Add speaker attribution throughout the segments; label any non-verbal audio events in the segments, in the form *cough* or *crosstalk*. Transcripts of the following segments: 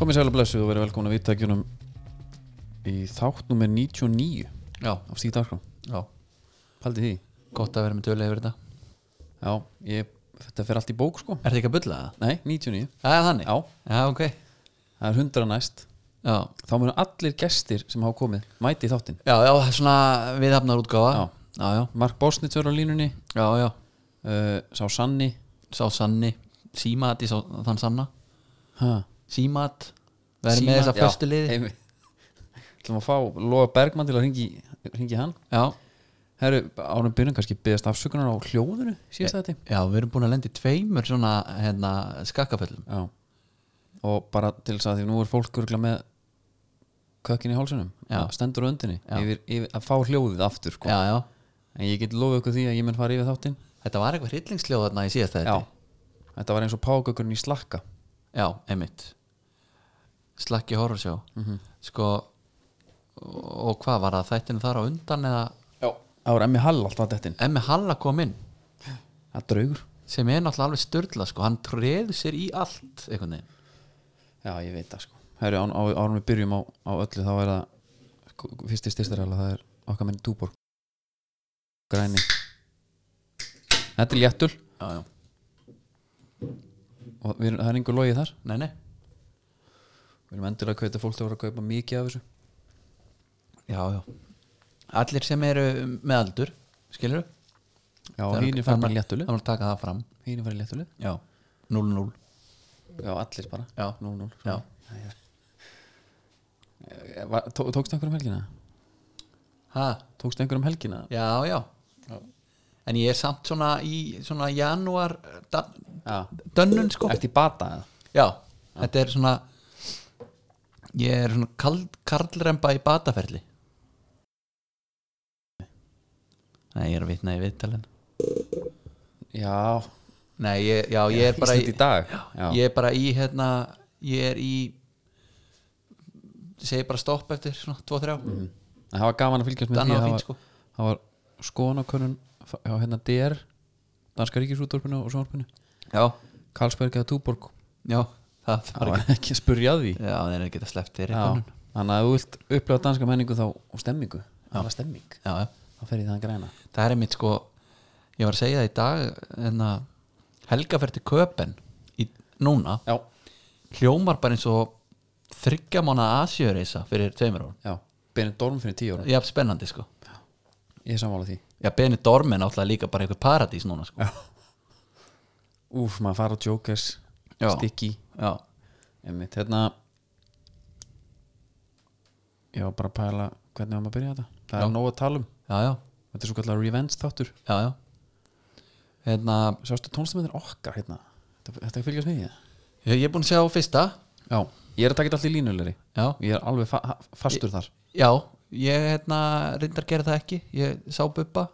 Speaker 1: Komið sæl og blessuð og verið velkomin að viðtækjunum í þátt nummer 99
Speaker 2: Já,
Speaker 1: af Stíð Dagskrá.
Speaker 2: já,
Speaker 1: Paldið því?
Speaker 2: gott að vera með tölu yfir þetta
Speaker 1: Já, ég, þetta fer allt í bók sko.
Speaker 2: Er þetta ekki að bulla það?
Speaker 1: Nei, 99.
Speaker 2: Það er þannig?
Speaker 1: Já,
Speaker 2: Já, ok
Speaker 1: það er 100 næst.
Speaker 2: Já,
Speaker 1: Þá munu allir gestir sem hafa komið mæti í þáttin.
Speaker 2: já, já svona viðhafnar útgáfa
Speaker 1: Já.
Speaker 2: já, já,
Speaker 1: Mark Bosnitz er á línunni,
Speaker 2: já, já.
Speaker 1: uh, Sá Sanni,
Speaker 2: Sá sanni, símat í sá, þann sanna
Speaker 1: ha,
Speaker 2: Símat, verið með þessa föstu liði
Speaker 1: heimi. Ætlum að fá Lóa Bergmann til að ringi, ringi hann.
Speaker 2: Já,
Speaker 1: Herru, ánum byrjun kannski byggðast afsökunar á hljóðinu síðast þetta.
Speaker 2: já, við erum búin að lenda í tveimur svona hérna, skakkaföllum
Speaker 1: Já Og bara til þess að því nú er fólk örgla með kökkin í hálsunum
Speaker 2: Já.
Speaker 1: stendur á öndinni
Speaker 2: Já.
Speaker 1: yfir, yfir, að fá hljóðið aftur sko.
Speaker 2: Já, já,
Speaker 1: en ég get lofið ykkur því að ég menn fara yfir þáttinn
Speaker 2: þetta var eitthvað hryllingsljóð þarna í síðast þetta
Speaker 1: Já, þetta var eins og pákökurinn í slakka
Speaker 2: Já, einmitt Slakki horrorsjó Sko og hvað var það þættinu þar á undan eða
Speaker 1: Já Það var emmi hall alltaf dettin
Speaker 2: Emmi Halla kom inn
Speaker 1: Það er draugur
Speaker 2: sem er náttúrulega alveg störla sko. hann treður sér í allt einhvern veginn
Speaker 1: Já, ég veit það sko Herri, án, á, árum við byrjum á, á öllu þá er það sko, fyrsti styrstarala, það er okkar menn túborg Græni Þetta er léttul
Speaker 2: já, já.
Speaker 1: og við, erum- það er einhver logið þar
Speaker 2: Nei, nei.
Speaker 1: Við erum endilega að kauta fólk til að voru að kaupa mikið af þessu
Speaker 2: Já, já. allir sem eru með aldur skilur
Speaker 1: Já, hínir fara bara í léttulið
Speaker 2: þannig að taka það fram
Speaker 1: Hínir fara í léttulið
Speaker 2: já. 0-0
Speaker 1: Já, allir bara
Speaker 2: já.
Speaker 1: 0-0
Speaker 2: Já.
Speaker 1: Eh, var- tó- Tókstu einhverjum helgina?
Speaker 2: Ha,
Speaker 1: Tókstu
Speaker 2: um
Speaker 1: einhverjum helgina?
Speaker 2: já, já en ég er samt svona í svona janúar eh, dan-
Speaker 1: Já
Speaker 2: dönnun sko
Speaker 1: Ertu í bata eða?
Speaker 2: já, þetta er svona ég er svona kald, kaldremba í bataferli nei, ég er að vitna í viðtalinn
Speaker 1: Já
Speaker 2: Nei, ég, já, ég er bara
Speaker 1: Ísland í dag Já,
Speaker 2: ég er bara í hérna, ég er í ég segi bara stopp eftir svona, tvo, þrjá mm.
Speaker 1: En Það var gaman að fylgjast Mhm. með
Speaker 2: Danna
Speaker 1: því
Speaker 2: var
Speaker 1: að
Speaker 2: fínt
Speaker 1: það
Speaker 2: sko
Speaker 1: var- Það var skonakönnun á hérna DR Danska ríkisútvarpinu og sjónvarpinu
Speaker 2: Já,
Speaker 1: Karlsberg eða Túborg
Speaker 2: já, það
Speaker 1: Það
Speaker 2: var ekki
Speaker 1: var ekki að spurja því
Speaker 2: Já, það er ekki að sleppt fyrir
Speaker 1: Já
Speaker 2: konun
Speaker 1: Þannig að ef þú vilt upplifa danska menningu þá og stemmingu Það var stemming
Speaker 2: Já, já,
Speaker 1: Þá fer ég það græna
Speaker 2: það er einmitt sko ég var að segja það í dag hérna, Helga fer til Köpen í, núna,
Speaker 1: Já
Speaker 2: hljómar bara eins og þryggja mánu Asjöreisa fyrir tveimur árum
Speaker 1: Já Benidorm fyrir tíu ára
Speaker 2: Já, spennandi sko
Speaker 1: Ég er sammála því
Speaker 2: Já, Benidorm er náttúrulega líka bara einhver paradís núna sko
Speaker 1: Úf, maður fara á Jokers
Speaker 2: Já.
Speaker 1: Sticky
Speaker 2: Já,
Speaker 1: Einmitt, hérna Ég var bara að pæla hvernig var maður að byrja þetta Það er nóg að tala um
Speaker 2: já, já,
Speaker 1: Þetta er svo kallar revenge þáttur
Speaker 2: já, já. Hérna,
Speaker 1: Sástu tónstamendir okkar hérna Þetta, þetta fylgjast með því eða?
Speaker 2: ég ég er búin að sjá fyrsta
Speaker 1: Já, ég er að taka þetta allt í línulegri
Speaker 2: Já,
Speaker 1: Ég er alveg fa fastur þar
Speaker 2: já ég hérna reyndar gera það ekki Ég sá Bubba,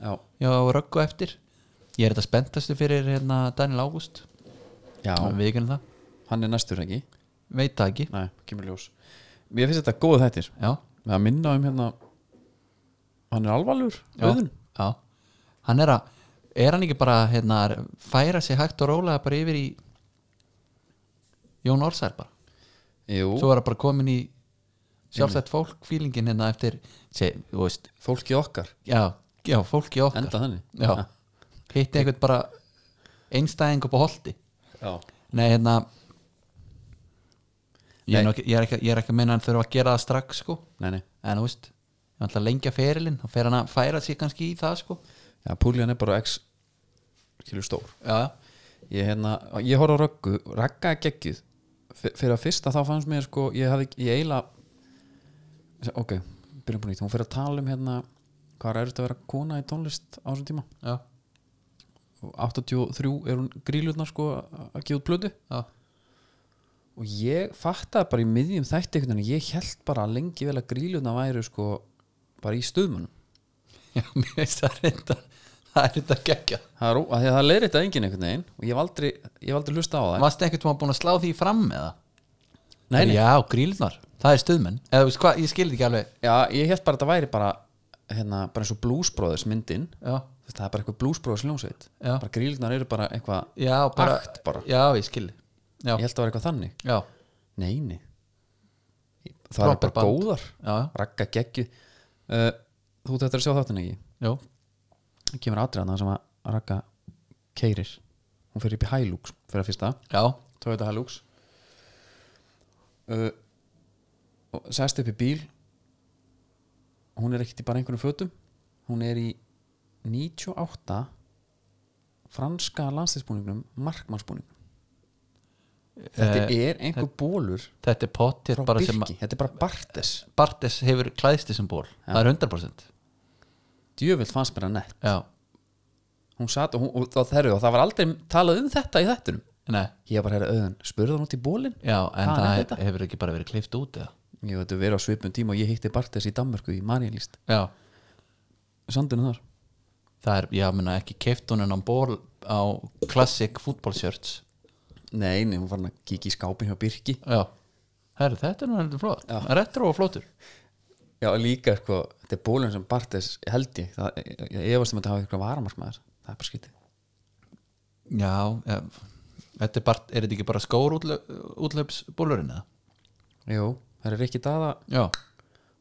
Speaker 1: Já,
Speaker 2: ég á röggu eftir Ég er þetta spenntastu fyrir hérna Daniel Ágúst
Speaker 1: já
Speaker 2: Við ekki það,
Speaker 1: hann er næstur ekki
Speaker 2: veit það ekki
Speaker 1: Nei, kemur ljós Mér finnst þetta góð þættir
Speaker 2: Já,
Speaker 1: Með að minna um hérna Hann er alvarlegur,
Speaker 2: já,
Speaker 1: auðun
Speaker 2: já Hann er að, er hann ekki bara hérna að færa sig hægt og rólega bara yfir í Jón Orsær bara
Speaker 1: Jú,
Speaker 2: Svo er hann bara komin í sjálfstætt fólk fílingin hérna eftir, sé, þú veist
Speaker 1: fólki okkar
Speaker 2: Já, já, fólki okkar
Speaker 1: Enda þannig
Speaker 2: Já, hitti einhvern bara einstæðing upp á holdi
Speaker 1: Já.
Speaker 2: Nei, hérna ég er,
Speaker 1: Nei.
Speaker 2: nú ekki, ég, er ekki, ég er ekki að minna hann þurfa að gera það strax sko
Speaker 1: Nei, nei
Speaker 2: en þú veist, ég ætla að lengja ferilinn og fer hann að færa sig kannski í það sko
Speaker 1: Já, Púljan er bara x kilur stór
Speaker 2: Já,
Speaker 1: ég, hérna, ég horf á röggu, ragga er geggjuð F- fyrir að fyrsta þá fannst mér sko ég hafði, ég eiginlega ok, byrjum búin í hún fyrir að tala um hérna hvað er erfitt að vera kona í tónlist á þessum tíma
Speaker 2: já,
Speaker 1: og 83 er hún grílutna sko að að gefa út blödu
Speaker 2: já,
Speaker 1: og ég fattaði bara í miðjum þætti einhvern veginn, ég held bara lengi vel að grílutna væri sko bara í stuðmunum
Speaker 2: já mér veist það er reynda það er reynda að gegja
Speaker 1: það er, ó- af því að það leiðir þetta enginn einhvern veginn og ég hef aldrei, ég hef aldrei hlusta á það
Speaker 2: Varst ekkert maður búin að slá því fram með það?
Speaker 1: Nei, nei.
Speaker 2: Já, grílnar, það er stuðmenn eða þú veist hvað, ég skildi ekki alveg
Speaker 1: Já, ég held bara að þetta væri bara hérna, bara eins og Blues Brothers myndin
Speaker 2: Já,
Speaker 1: Þú veist, það er bara eitthvað Blues Brothers ljónsveit
Speaker 2: Já.
Speaker 1: bara grílnar eru bara eitthvað
Speaker 2: já, bara,
Speaker 1: Akt bara.
Speaker 2: já ég skildi Já,
Speaker 1: ég held að það var eitthvað þannig
Speaker 2: já,
Speaker 1: nei, nei það er
Speaker 2: Proper
Speaker 1: bara
Speaker 2: band.
Speaker 1: góðar
Speaker 2: já, já,
Speaker 1: ragga geggju uh, þú þetta er að sjá þáttin ekki
Speaker 2: já,
Speaker 1: það kemur atriðan sem að ragga keirir hún fyrir upp í Hilux fyrir að fyrsta
Speaker 2: já,
Speaker 1: Toyota Hilux uh, og sest upp í bíl hún er ekkert í bara einhvernum fötum hún er í 98 franska landsliðsbúningnum markmannsbúningnum þetta er einhver bólur
Speaker 2: Eh, þetta er pottir
Speaker 1: frá
Speaker 2: bara
Speaker 1: Birki,
Speaker 2: sem að
Speaker 1: þetta er bara Bartes
Speaker 2: Bartes hefur klæðst þessum ból það er 100%
Speaker 1: djöfull fannst mér að nett
Speaker 2: já,
Speaker 1: hún sat og, hún, og, það, þerri, og það var aldrei talað um þetta í þettunum
Speaker 2: nei,
Speaker 1: ég bara herra auðan, spurði hann út í bólin
Speaker 2: já en
Speaker 1: Hvað er
Speaker 2: það
Speaker 1: þetta?
Speaker 2: hefur ekki bara verið kleift út eða
Speaker 1: ég veit að vera á svipum tíma og ég hitti Bartes í Danmörku í Marienlist,
Speaker 2: já,
Speaker 1: sandunum þar
Speaker 2: það er, já, menna ekki keift hún en á ból á classic football shirts
Speaker 1: Nei, nei, hún var hann að kíkja í skápin hjá Birki
Speaker 2: já, herru, þetta er nú heldur flott
Speaker 1: Já.
Speaker 2: retro og flottur
Speaker 1: Já, líka sko, þetta er bólun sem Bartes held ég, það, ég efast um að þetta hafa eitthvað varamarkmaður, það er bara skytið
Speaker 2: Já, ja, þetta er, bara, er þetta ekki bara skór útlöpsbólurinn eða?
Speaker 1: Jú, það er ekki daða,
Speaker 2: Já,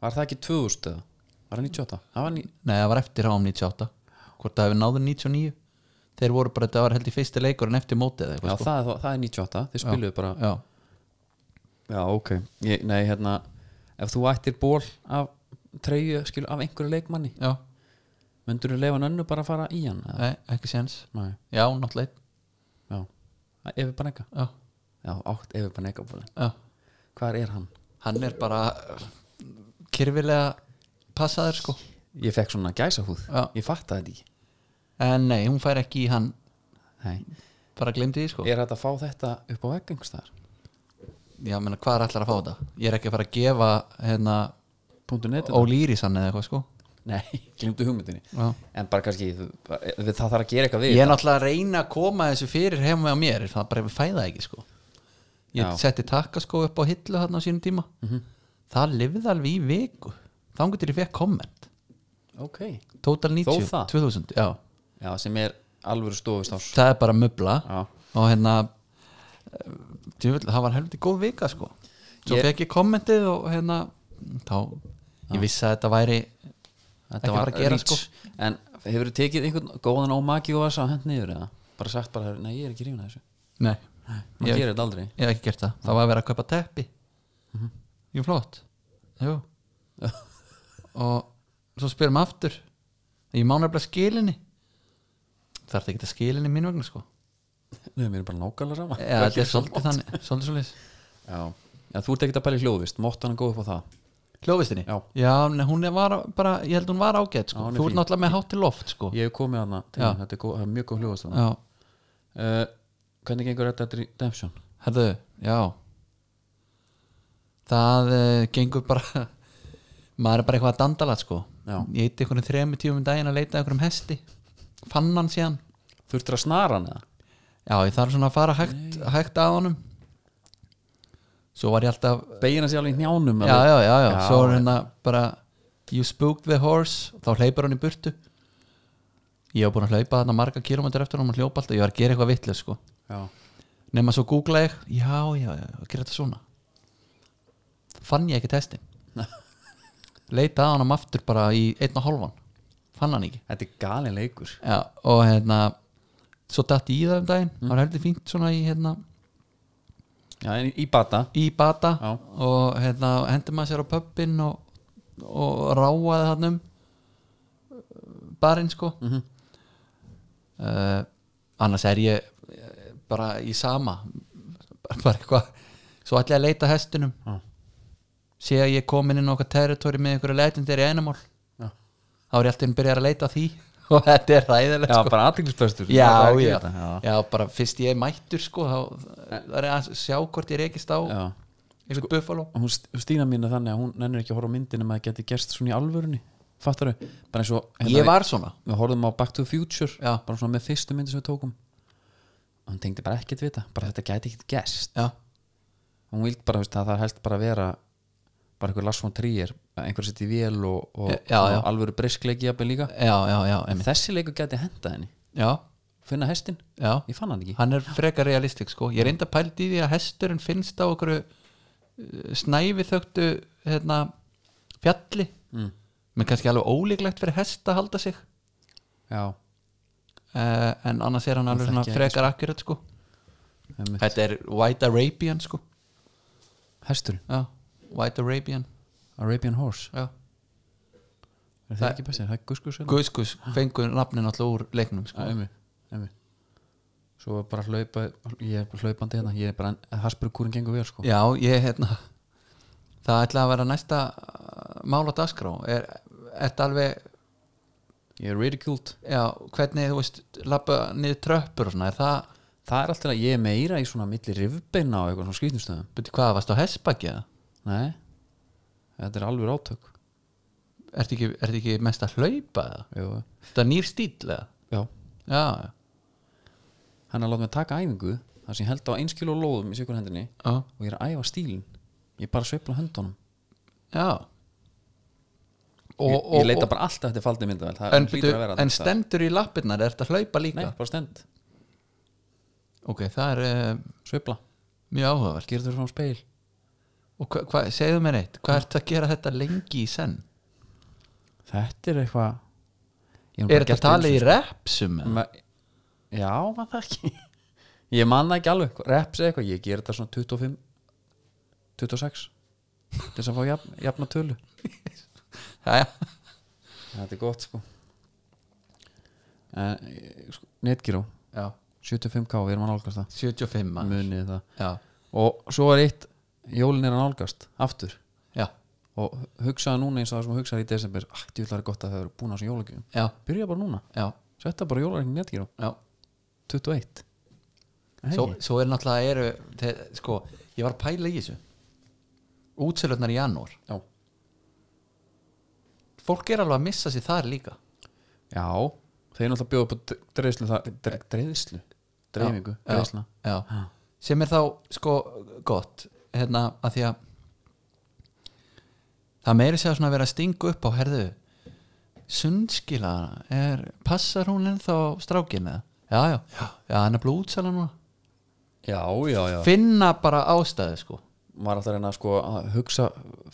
Speaker 1: var það ekki 2000 eða? Var það 98? Það var ný...
Speaker 2: nei það var eftir háum 98 Hvort það hefur náður 99 Þeir voru bara, þetta var held í fyrsti leikurinn eftir mótið eða
Speaker 1: Já,
Speaker 2: eitthvað sko.
Speaker 1: það, er- það er 98, þið spiluðu bara
Speaker 2: Já,
Speaker 1: Já, ok, ég, nei, hérna ef þú ættir ból af treyju, skilu, af einhverju leikmanni
Speaker 2: já,
Speaker 1: myndur þú lefa nönnu bara að fara í hann? eða?
Speaker 2: nei, ekki séns
Speaker 1: Nei,
Speaker 2: Já, náttúrulega einn.
Speaker 1: já, ef við bara neka
Speaker 2: Já,
Speaker 1: Já, átt ef við bara neka bólin
Speaker 2: já
Speaker 1: Hvar er hann?
Speaker 2: Hann er bara kyrfilega passaður sko
Speaker 1: Ég fekk svona gæsahúð,
Speaker 2: Já.
Speaker 1: ég fattaði þetta ekki
Speaker 2: En nei, hún fær ekki í hann
Speaker 1: Nei.
Speaker 2: bara glemdi því sko
Speaker 1: Er þetta að fá þetta upp á vegg einhvers þar?
Speaker 2: Já, menna, hvað er allar að fá þetta? Ég er ekki að fara að gefa hérna
Speaker 1: Punktu netið?
Speaker 2: Ólýrisann eða eitthvað sko
Speaker 1: Nei, *laughs* glimtu hugmyndinni
Speaker 2: Já
Speaker 1: En bara kannski, þú- við- það þarf að gera eitthvað við
Speaker 2: ég er náttúrulega að reyna að koma þessu fyrir heima á mér, það bara hefur fæða ekki sko. ég
Speaker 1: Já. Mhm.
Speaker 2: setti takkaskó upp á hillu hann á sínum tíma það lifði alveg í viku þangur til ég fekk komment
Speaker 1: Ok
Speaker 2: total 90,
Speaker 1: það?
Speaker 2: 2000 já.
Speaker 1: Já, sem er alvöru stofist ás
Speaker 2: það er bara möbla
Speaker 1: Já,
Speaker 2: og hérna eh, djöfull, það var helviti góð vika sko. svo
Speaker 1: Ég-
Speaker 2: fekk ég kommentið og hérna þá, ég vissi að þetta væri
Speaker 1: þetta
Speaker 2: Ekki
Speaker 1: var
Speaker 2: fara að gera, sko.
Speaker 1: reach. En hefur þú tekið einhvern góðan ómaki og vasa hent niður eða? Bara sagt bara, nei, ég er ekki rífin að þessu
Speaker 2: nei,
Speaker 1: Man
Speaker 2: Ég-
Speaker 1: gerir þetta aldrei
Speaker 2: ég hef ekki gert það það var að vera að kaupa teppi jú flott
Speaker 1: *laughs*
Speaker 2: jú. og svo spyrum aftur ég má nefnilega skilinni það er ekki að skilinni mín
Speaker 1: *laughs*
Speaker 2: vegna sko
Speaker 1: Nei, mér er bara nákvæmlega sama
Speaker 2: ja, það er svolítið þannig svolítið svolítið
Speaker 1: Já, en þú ert ekkert að pæla í hljóðvist Mótt hann að góð upp á það
Speaker 2: hljófistinni
Speaker 1: Já.
Speaker 2: nei, hún er var, bara, ég held hún var ágætt
Speaker 1: Já,
Speaker 2: sko.
Speaker 1: hún er
Speaker 2: þú ert
Speaker 1: fín.
Speaker 2: náttúrulega með hátt til loft sko.
Speaker 1: Ég hef komið hana til
Speaker 2: Já.
Speaker 1: þín, þetta er, góð, það er mjög góð hljóðvist
Speaker 2: já,
Speaker 1: uh, Hvernig gengur þetta redemption?
Speaker 2: herðu, já það uh, gengur bara *laughs* maður er bara eitthvað að dandala sko.
Speaker 1: Já.
Speaker 2: ég eitt einhvern þremur tíum um daginn að leita að einhverjum hesti fann hann síðan
Speaker 1: Þurftur að snara hann eða?
Speaker 2: Já, ég þarf svona að fara hægt, hægt að honum Svo var ég alltaf
Speaker 1: Begina sér alveg í njánum
Speaker 2: Já, já, já, já,
Speaker 1: Já,
Speaker 2: svo var
Speaker 1: já.
Speaker 2: hérna bara You spooked the horse Þá hleypur hann í burtu Ég var búin að hlaupa þarna marga kilometrar eftir honum og hljópa alltaf, ég var að gera eitthvað vitlega sko
Speaker 1: já.
Speaker 2: Nefna svo googla ég Já, já, já, að gera þetta svona Fann ég ekki testin Leita að honum aftur bara í einn og hálfan Fann hann ekki
Speaker 1: Þetta er galin leikur
Speaker 2: Já, og hérna Svo datt ég í það um daginn Það var heldur fínt svona í hérna
Speaker 1: Já, en í bata
Speaker 2: í bata
Speaker 1: Já.
Speaker 2: og hérna, hendi maður sér á pöppin og, og ráaði hann um barinn sko mm
Speaker 1: Mhm.
Speaker 2: annars er ég eh, bara í sama bara eitthvað svo ætla ég að leita að hestunum
Speaker 1: Já.
Speaker 2: sé að ég er komin inn á okkar territori með einhverju leitendir í einamál
Speaker 1: Já,
Speaker 2: þá er ég alltaf að byrja að leita að því *laughs* og þetta er ræðilegt sko
Speaker 1: bara aðtýrlisbestur
Speaker 2: já,
Speaker 1: já.
Speaker 2: já.
Speaker 1: Þetta, já.
Speaker 2: já, bara fyrst ég er mættur sko, þá það er að sjá hvort ég rekist á
Speaker 1: já. Sko,
Speaker 2: einhvern buffalo
Speaker 1: Og Hún st- Stína mín er þannig að hún nennir ekki að horfa á myndinu með að geti gerst svona í alvörunni Fattar þau? Bara eins og hérna,
Speaker 2: ég var svona
Speaker 1: við, við horfðum á Back to the Future
Speaker 2: Já.
Speaker 1: Bara svona með fyrstu myndi sem við tókum Og Hún tengdi bara ekkert við þetta Bara þetta gæti ekkert gerst
Speaker 2: já,
Speaker 1: Hún vildi bara, veist, að það helst bara að vera Bara einhver Lars von Trier Einhver sitt í vél og, og,
Speaker 2: Já, já.
Speaker 1: og alvöru briskleiki jafnvel líka
Speaker 2: já, já, já, einmitt.
Speaker 1: Þessi leikur gæti henda henni
Speaker 2: já,
Speaker 1: Finna hestin,
Speaker 2: já.
Speaker 1: ég fann hann ekki
Speaker 2: hann er frekar realistik sko. ég reynda pælt í því að hesturinn finnst á okkur eh, snævi þögtu hérna, fjalli
Speaker 1: Mm.
Speaker 2: menn kannski alveg ólíklegt fyrir hest að halda sig
Speaker 1: já,
Speaker 2: uh, en annars er hann
Speaker 1: Hann
Speaker 2: alveg svona
Speaker 1: þekki ekki,
Speaker 2: frekar akkurat sko
Speaker 1: einmitt.
Speaker 2: þetta er White Arabian sko
Speaker 1: hesturinn,
Speaker 2: já, White Arabian
Speaker 1: Arabian Horse
Speaker 2: já.
Speaker 1: er það
Speaker 2: Það-
Speaker 1: ekki bestið, það er guskus hérna?
Speaker 2: Gus Gus fengur nafnin alltaf úr leiknum sko.
Speaker 1: Já, einmitt, einmitt. svo er bara hlaupa ég er bara hlaupandi hérna, ég er bara Hasburgkúrin gengur vel sko
Speaker 2: já, ég hérna það ætla að vera næsta uh, mál á dagskrá er þetta alveg
Speaker 1: ég er ridiculed
Speaker 2: já, hvernig þú veist lappa niður tröppur og svona er það,
Speaker 1: það er alltaf að ég er meira í svona milli rifbeina og eitthvað svona skrýtnustöðum
Speaker 2: betur hvað, varst á hessbakki eða?
Speaker 1: nei, þetta er alveg rátök
Speaker 2: ertu ekki, ertu ekki mest að hlaupa eða?
Speaker 1: Jú.
Speaker 2: þetta er nýr stíl eða?
Speaker 1: já,
Speaker 2: já, já,
Speaker 1: hann er að láta mig taka æfingu þar sem ég held á eins kilo lóðum í sikur hendinni
Speaker 2: já,
Speaker 1: og ég er að æfa stílin ég bara sveifla höndunum
Speaker 2: já.
Speaker 1: ég, ég leita bara alltaf eftir faldið myndavel það
Speaker 2: en,
Speaker 1: hlýtur
Speaker 2: bitu,
Speaker 1: að vera
Speaker 2: en
Speaker 1: þetta.
Speaker 2: stendur í lappirnar er þetta hlaupa líka
Speaker 1: nei, bara stend,
Speaker 2: ok, það er uh,
Speaker 1: sveifla
Speaker 2: mjög áhugavert
Speaker 1: gerður fyrir fram speil
Speaker 2: og hva, hva, segðu mér eitt, hvað ert að gera þetta lengi í senn?
Speaker 1: þetta er eitthvað Ég nú bara
Speaker 2: er
Speaker 1: gert
Speaker 2: þetta talið
Speaker 1: einu sko.
Speaker 2: í repsum? eða?
Speaker 1: Ma- Já, maður það ekki *laughs* Ég man það ekki alveg, reps eða eitthvað Ég ger þetta svona 25 26 til þess að fá jafn, jafna tölu
Speaker 2: Jæja.
Speaker 1: Þetta er gott sko en, eh, sko, Netgyró
Speaker 2: já,
Speaker 1: 75k, við erum að nálgast það
Speaker 2: 75 maður
Speaker 1: munið það
Speaker 2: já,
Speaker 1: og svo er eitt, jólin er að nálgast aftur
Speaker 2: já,
Speaker 1: og hugsaða núna eins og það sem hugsaði í desember ah, djúlar er gott að það eru búin á þessum jólagjöfum
Speaker 2: já,
Speaker 1: byrja bara núna,
Speaker 2: já,
Speaker 1: setta bara jólarreikning netgyró
Speaker 2: já.
Speaker 1: 21 Hei,
Speaker 2: Svo, svo er náttúrulega eru, þeir, sko, ég var að pæla í þessu útsölutnar í janúar
Speaker 1: já.
Speaker 2: fólk er alveg að missa sér þar líka
Speaker 1: Já, þeir náttúrulega bjóða upp á dre- dreifslu það, dre, dreifslu, dreifingu,
Speaker 2: Já,
Speaker 1: dreifsla
Speaker 2: já,
Speaker 1: Ha.
Speaker 2: sem er þá sko gott hérna að því að það meiri sér svona að vera að stinga upp á herðu sundskila er, passar hún ennþá strákinu já, já, já, hann er blúð útsala núna
Speaker 1: Já, já, já
Speaker 2: finna bara ástæðu sko
Speaker 1: Maður alltaf að reyna að sko að hugsa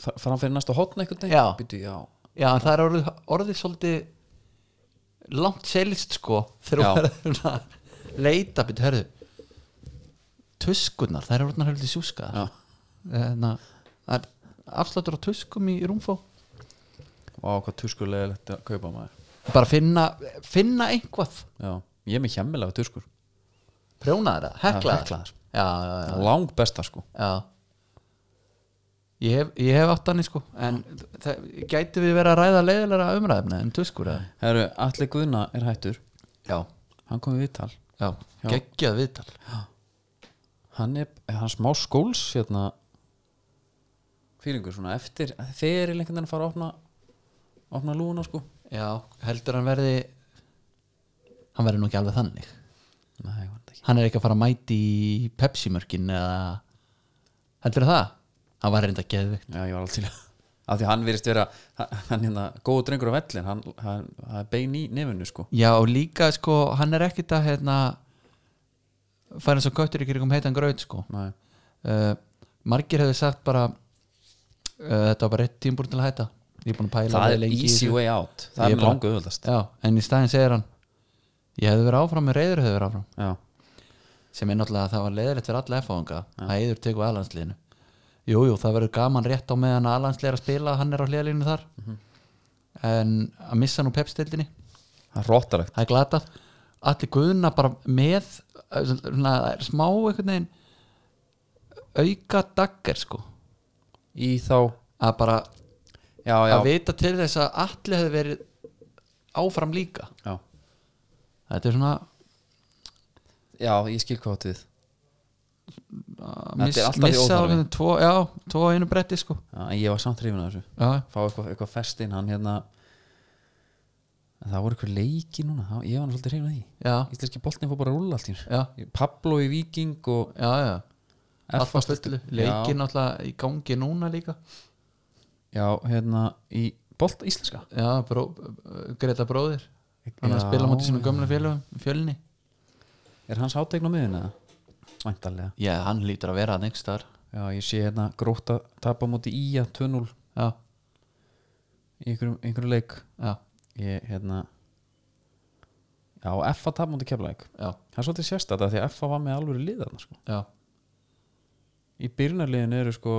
Speaker 1: fra- fram fyrir næsta hotn einhvern veginn
Speaker 2: Já.
Speaker 1: Býtu, já,
Speaker 2: já, en það er orðið, orðið svolítið langt selist sko þegar
Speaker 1: Já.
Speaker 2: hún er að leita byrju, herðu tuskunar, það er orðnar heldur sjúskaðar
Speaker 1: já.
Speaker 2: Þannig að það er afsláttur á tuskum í rúmfó
Speaker 1: Vá, hvað tuskulega lett að kaupa maður
Speaker 2: bara finna, finna einhvað
Speaker 1: Já, ég er með hjemmilega tuskur
Speaker 2: prjónaðar það,
Speaker 1: Já,
Speaker 2: heklaðar
Speaker 1: heklaðar.
Speaker 2: já, já, já,
Speaker 1: Lang besta sko
Speaker 2: já. Ég, hef, ég hef átt hann sko en það, gæti við verið að ræða leiðilega umræðumna en tuskur eða?
Speaker 1: Herru, Atli Guðna er hættur
Speaker 2: já,
Speaker 1: Hann kom í viðtal
Speaker 2: já,
Speaker 1: Já.
Speaker 2: geggjað viðtal
Speaker 1: Hann er, er hann smá skóls hérna Fýringur svona eftir Þegar er einhvern veginn að fara að opna Opna lúna sko
Speaker 2: já, heldur hann verði hann verði nú ekki alveg þannig
Speaker 1: Nei, hann ekki
Speaker 2: hann er ekki að fara að mæti í Pepsi-mörkin eða heldur það? hann var reynda geðvikt
Speaker 1: Já, ég var alveg til að af því að hann virðist vera hann hérna, góð drengur á vellin hann, hann, hann bein í nefnu sko
Speaker 2: Já, og líka sko, hann er ekkit að hérna, fara eins og köttur ykkur um heitan gröð sko.
Speaker 1: Nei,
Speaker 2: uh, margir hefði sagt bara uh, þetta var bara rétt tímbúr til að hætta ég er búin að pæla
Speaker 1: það
Speaker 2: vel
Speaker 1: er
Speaker 2: lengi í
Speaker 1: easy
Speaker 2: þessu.
Speaker 1: way out það
Speaker 2: Ég
Speaker 1: er
Speaker 2: bara-
Speaker 1: langu auðvöldast
Speaker 2: Já, en í staðin segir hann ég hefði verið áfram með reyður hefði verið áfram
Speaker 1: Já,
Speaker 2: sem er náttúrulega að það var leiðilegt fyrir alla F-fóðinga að heiður tegur aðlandsliðinu Jújú, jú, það verður gaman rétt á meðan aðlandslið er að spila hann er á hliðalínu þar
Speaker 1: Mhm.
Speaker 2: en að missa nú pepstildinni
Speaker 1: það er róttalegt
Speaker 2: það er glatað allir guðuna bara með eh, svona, smá einhvern veginn auka dagger sko
Speaker 1: í þá,
Speaker 2: að bara
Speaker 1: já, já,
Speaker 2: að vita til þess að allir hefði verið áfram líka
Speaker 1: já,
Speaker 2: þetta er svona uh,
Speaker 1: já ég skil hvað átt við
Speaker 2: að
Speaker 1: Þetta er
Speaker 2: miss,
Speaker 1: alltaf í
Speaker 2: missa
Speaker 1: óþarfi.
Speaker 2: alveg tvo, já, tvo á einu bretti sko
Speaker 1: já, en ég var samt hrifin af þessu
Speaker 2: já,
Speaker 1: fá eitthvað, eitthvað fest inn hann hérna en það voru eitthvað leiki núna það, ég var nú svolítið hrifin af því
Speaker 2: já,
Speaker 1: Íslenski boltin fór bara að rúla allt í
Speaker 2: já,
Speaker 1: hér Pablo í Viking og
Speaker 2: já, já.
Speaker 1: F var
Speaker 2: alltaf fullu
Speaker 1: stilltur.
Speaker 2: leikin
Speaker 1: já,
Speaker 2: náttúrulega í gangi núna líka
Speaker 1: já, hérna í bolt íslenska
Speaker 2: já, bró, Greta bróðir hann er að spila á móti sínum
Speaker 1: já.
Speaker 2: gömlu félagum fjölni
Speaker 1: Er hans átegn á miðun eða? Væntalega
Speaker 2: já, hann lítur að vera að nextar
Speaker 1: já, ég sé hérna gróta tapa á móti í að 2-0
Speaker 2: já,
Speaker 1: í einhverjum, einhverjum leik
Speaker 2: já,
Speaker 1: ég, hérna já, F að tapa á móti keflæk
Speaker 2: já,
Speaker 1: það er svolítið sérstætt að því að F var með alveg liðarna sko.
Speaker 2: já,
Speaker 1: í byrjunarliðin eru sko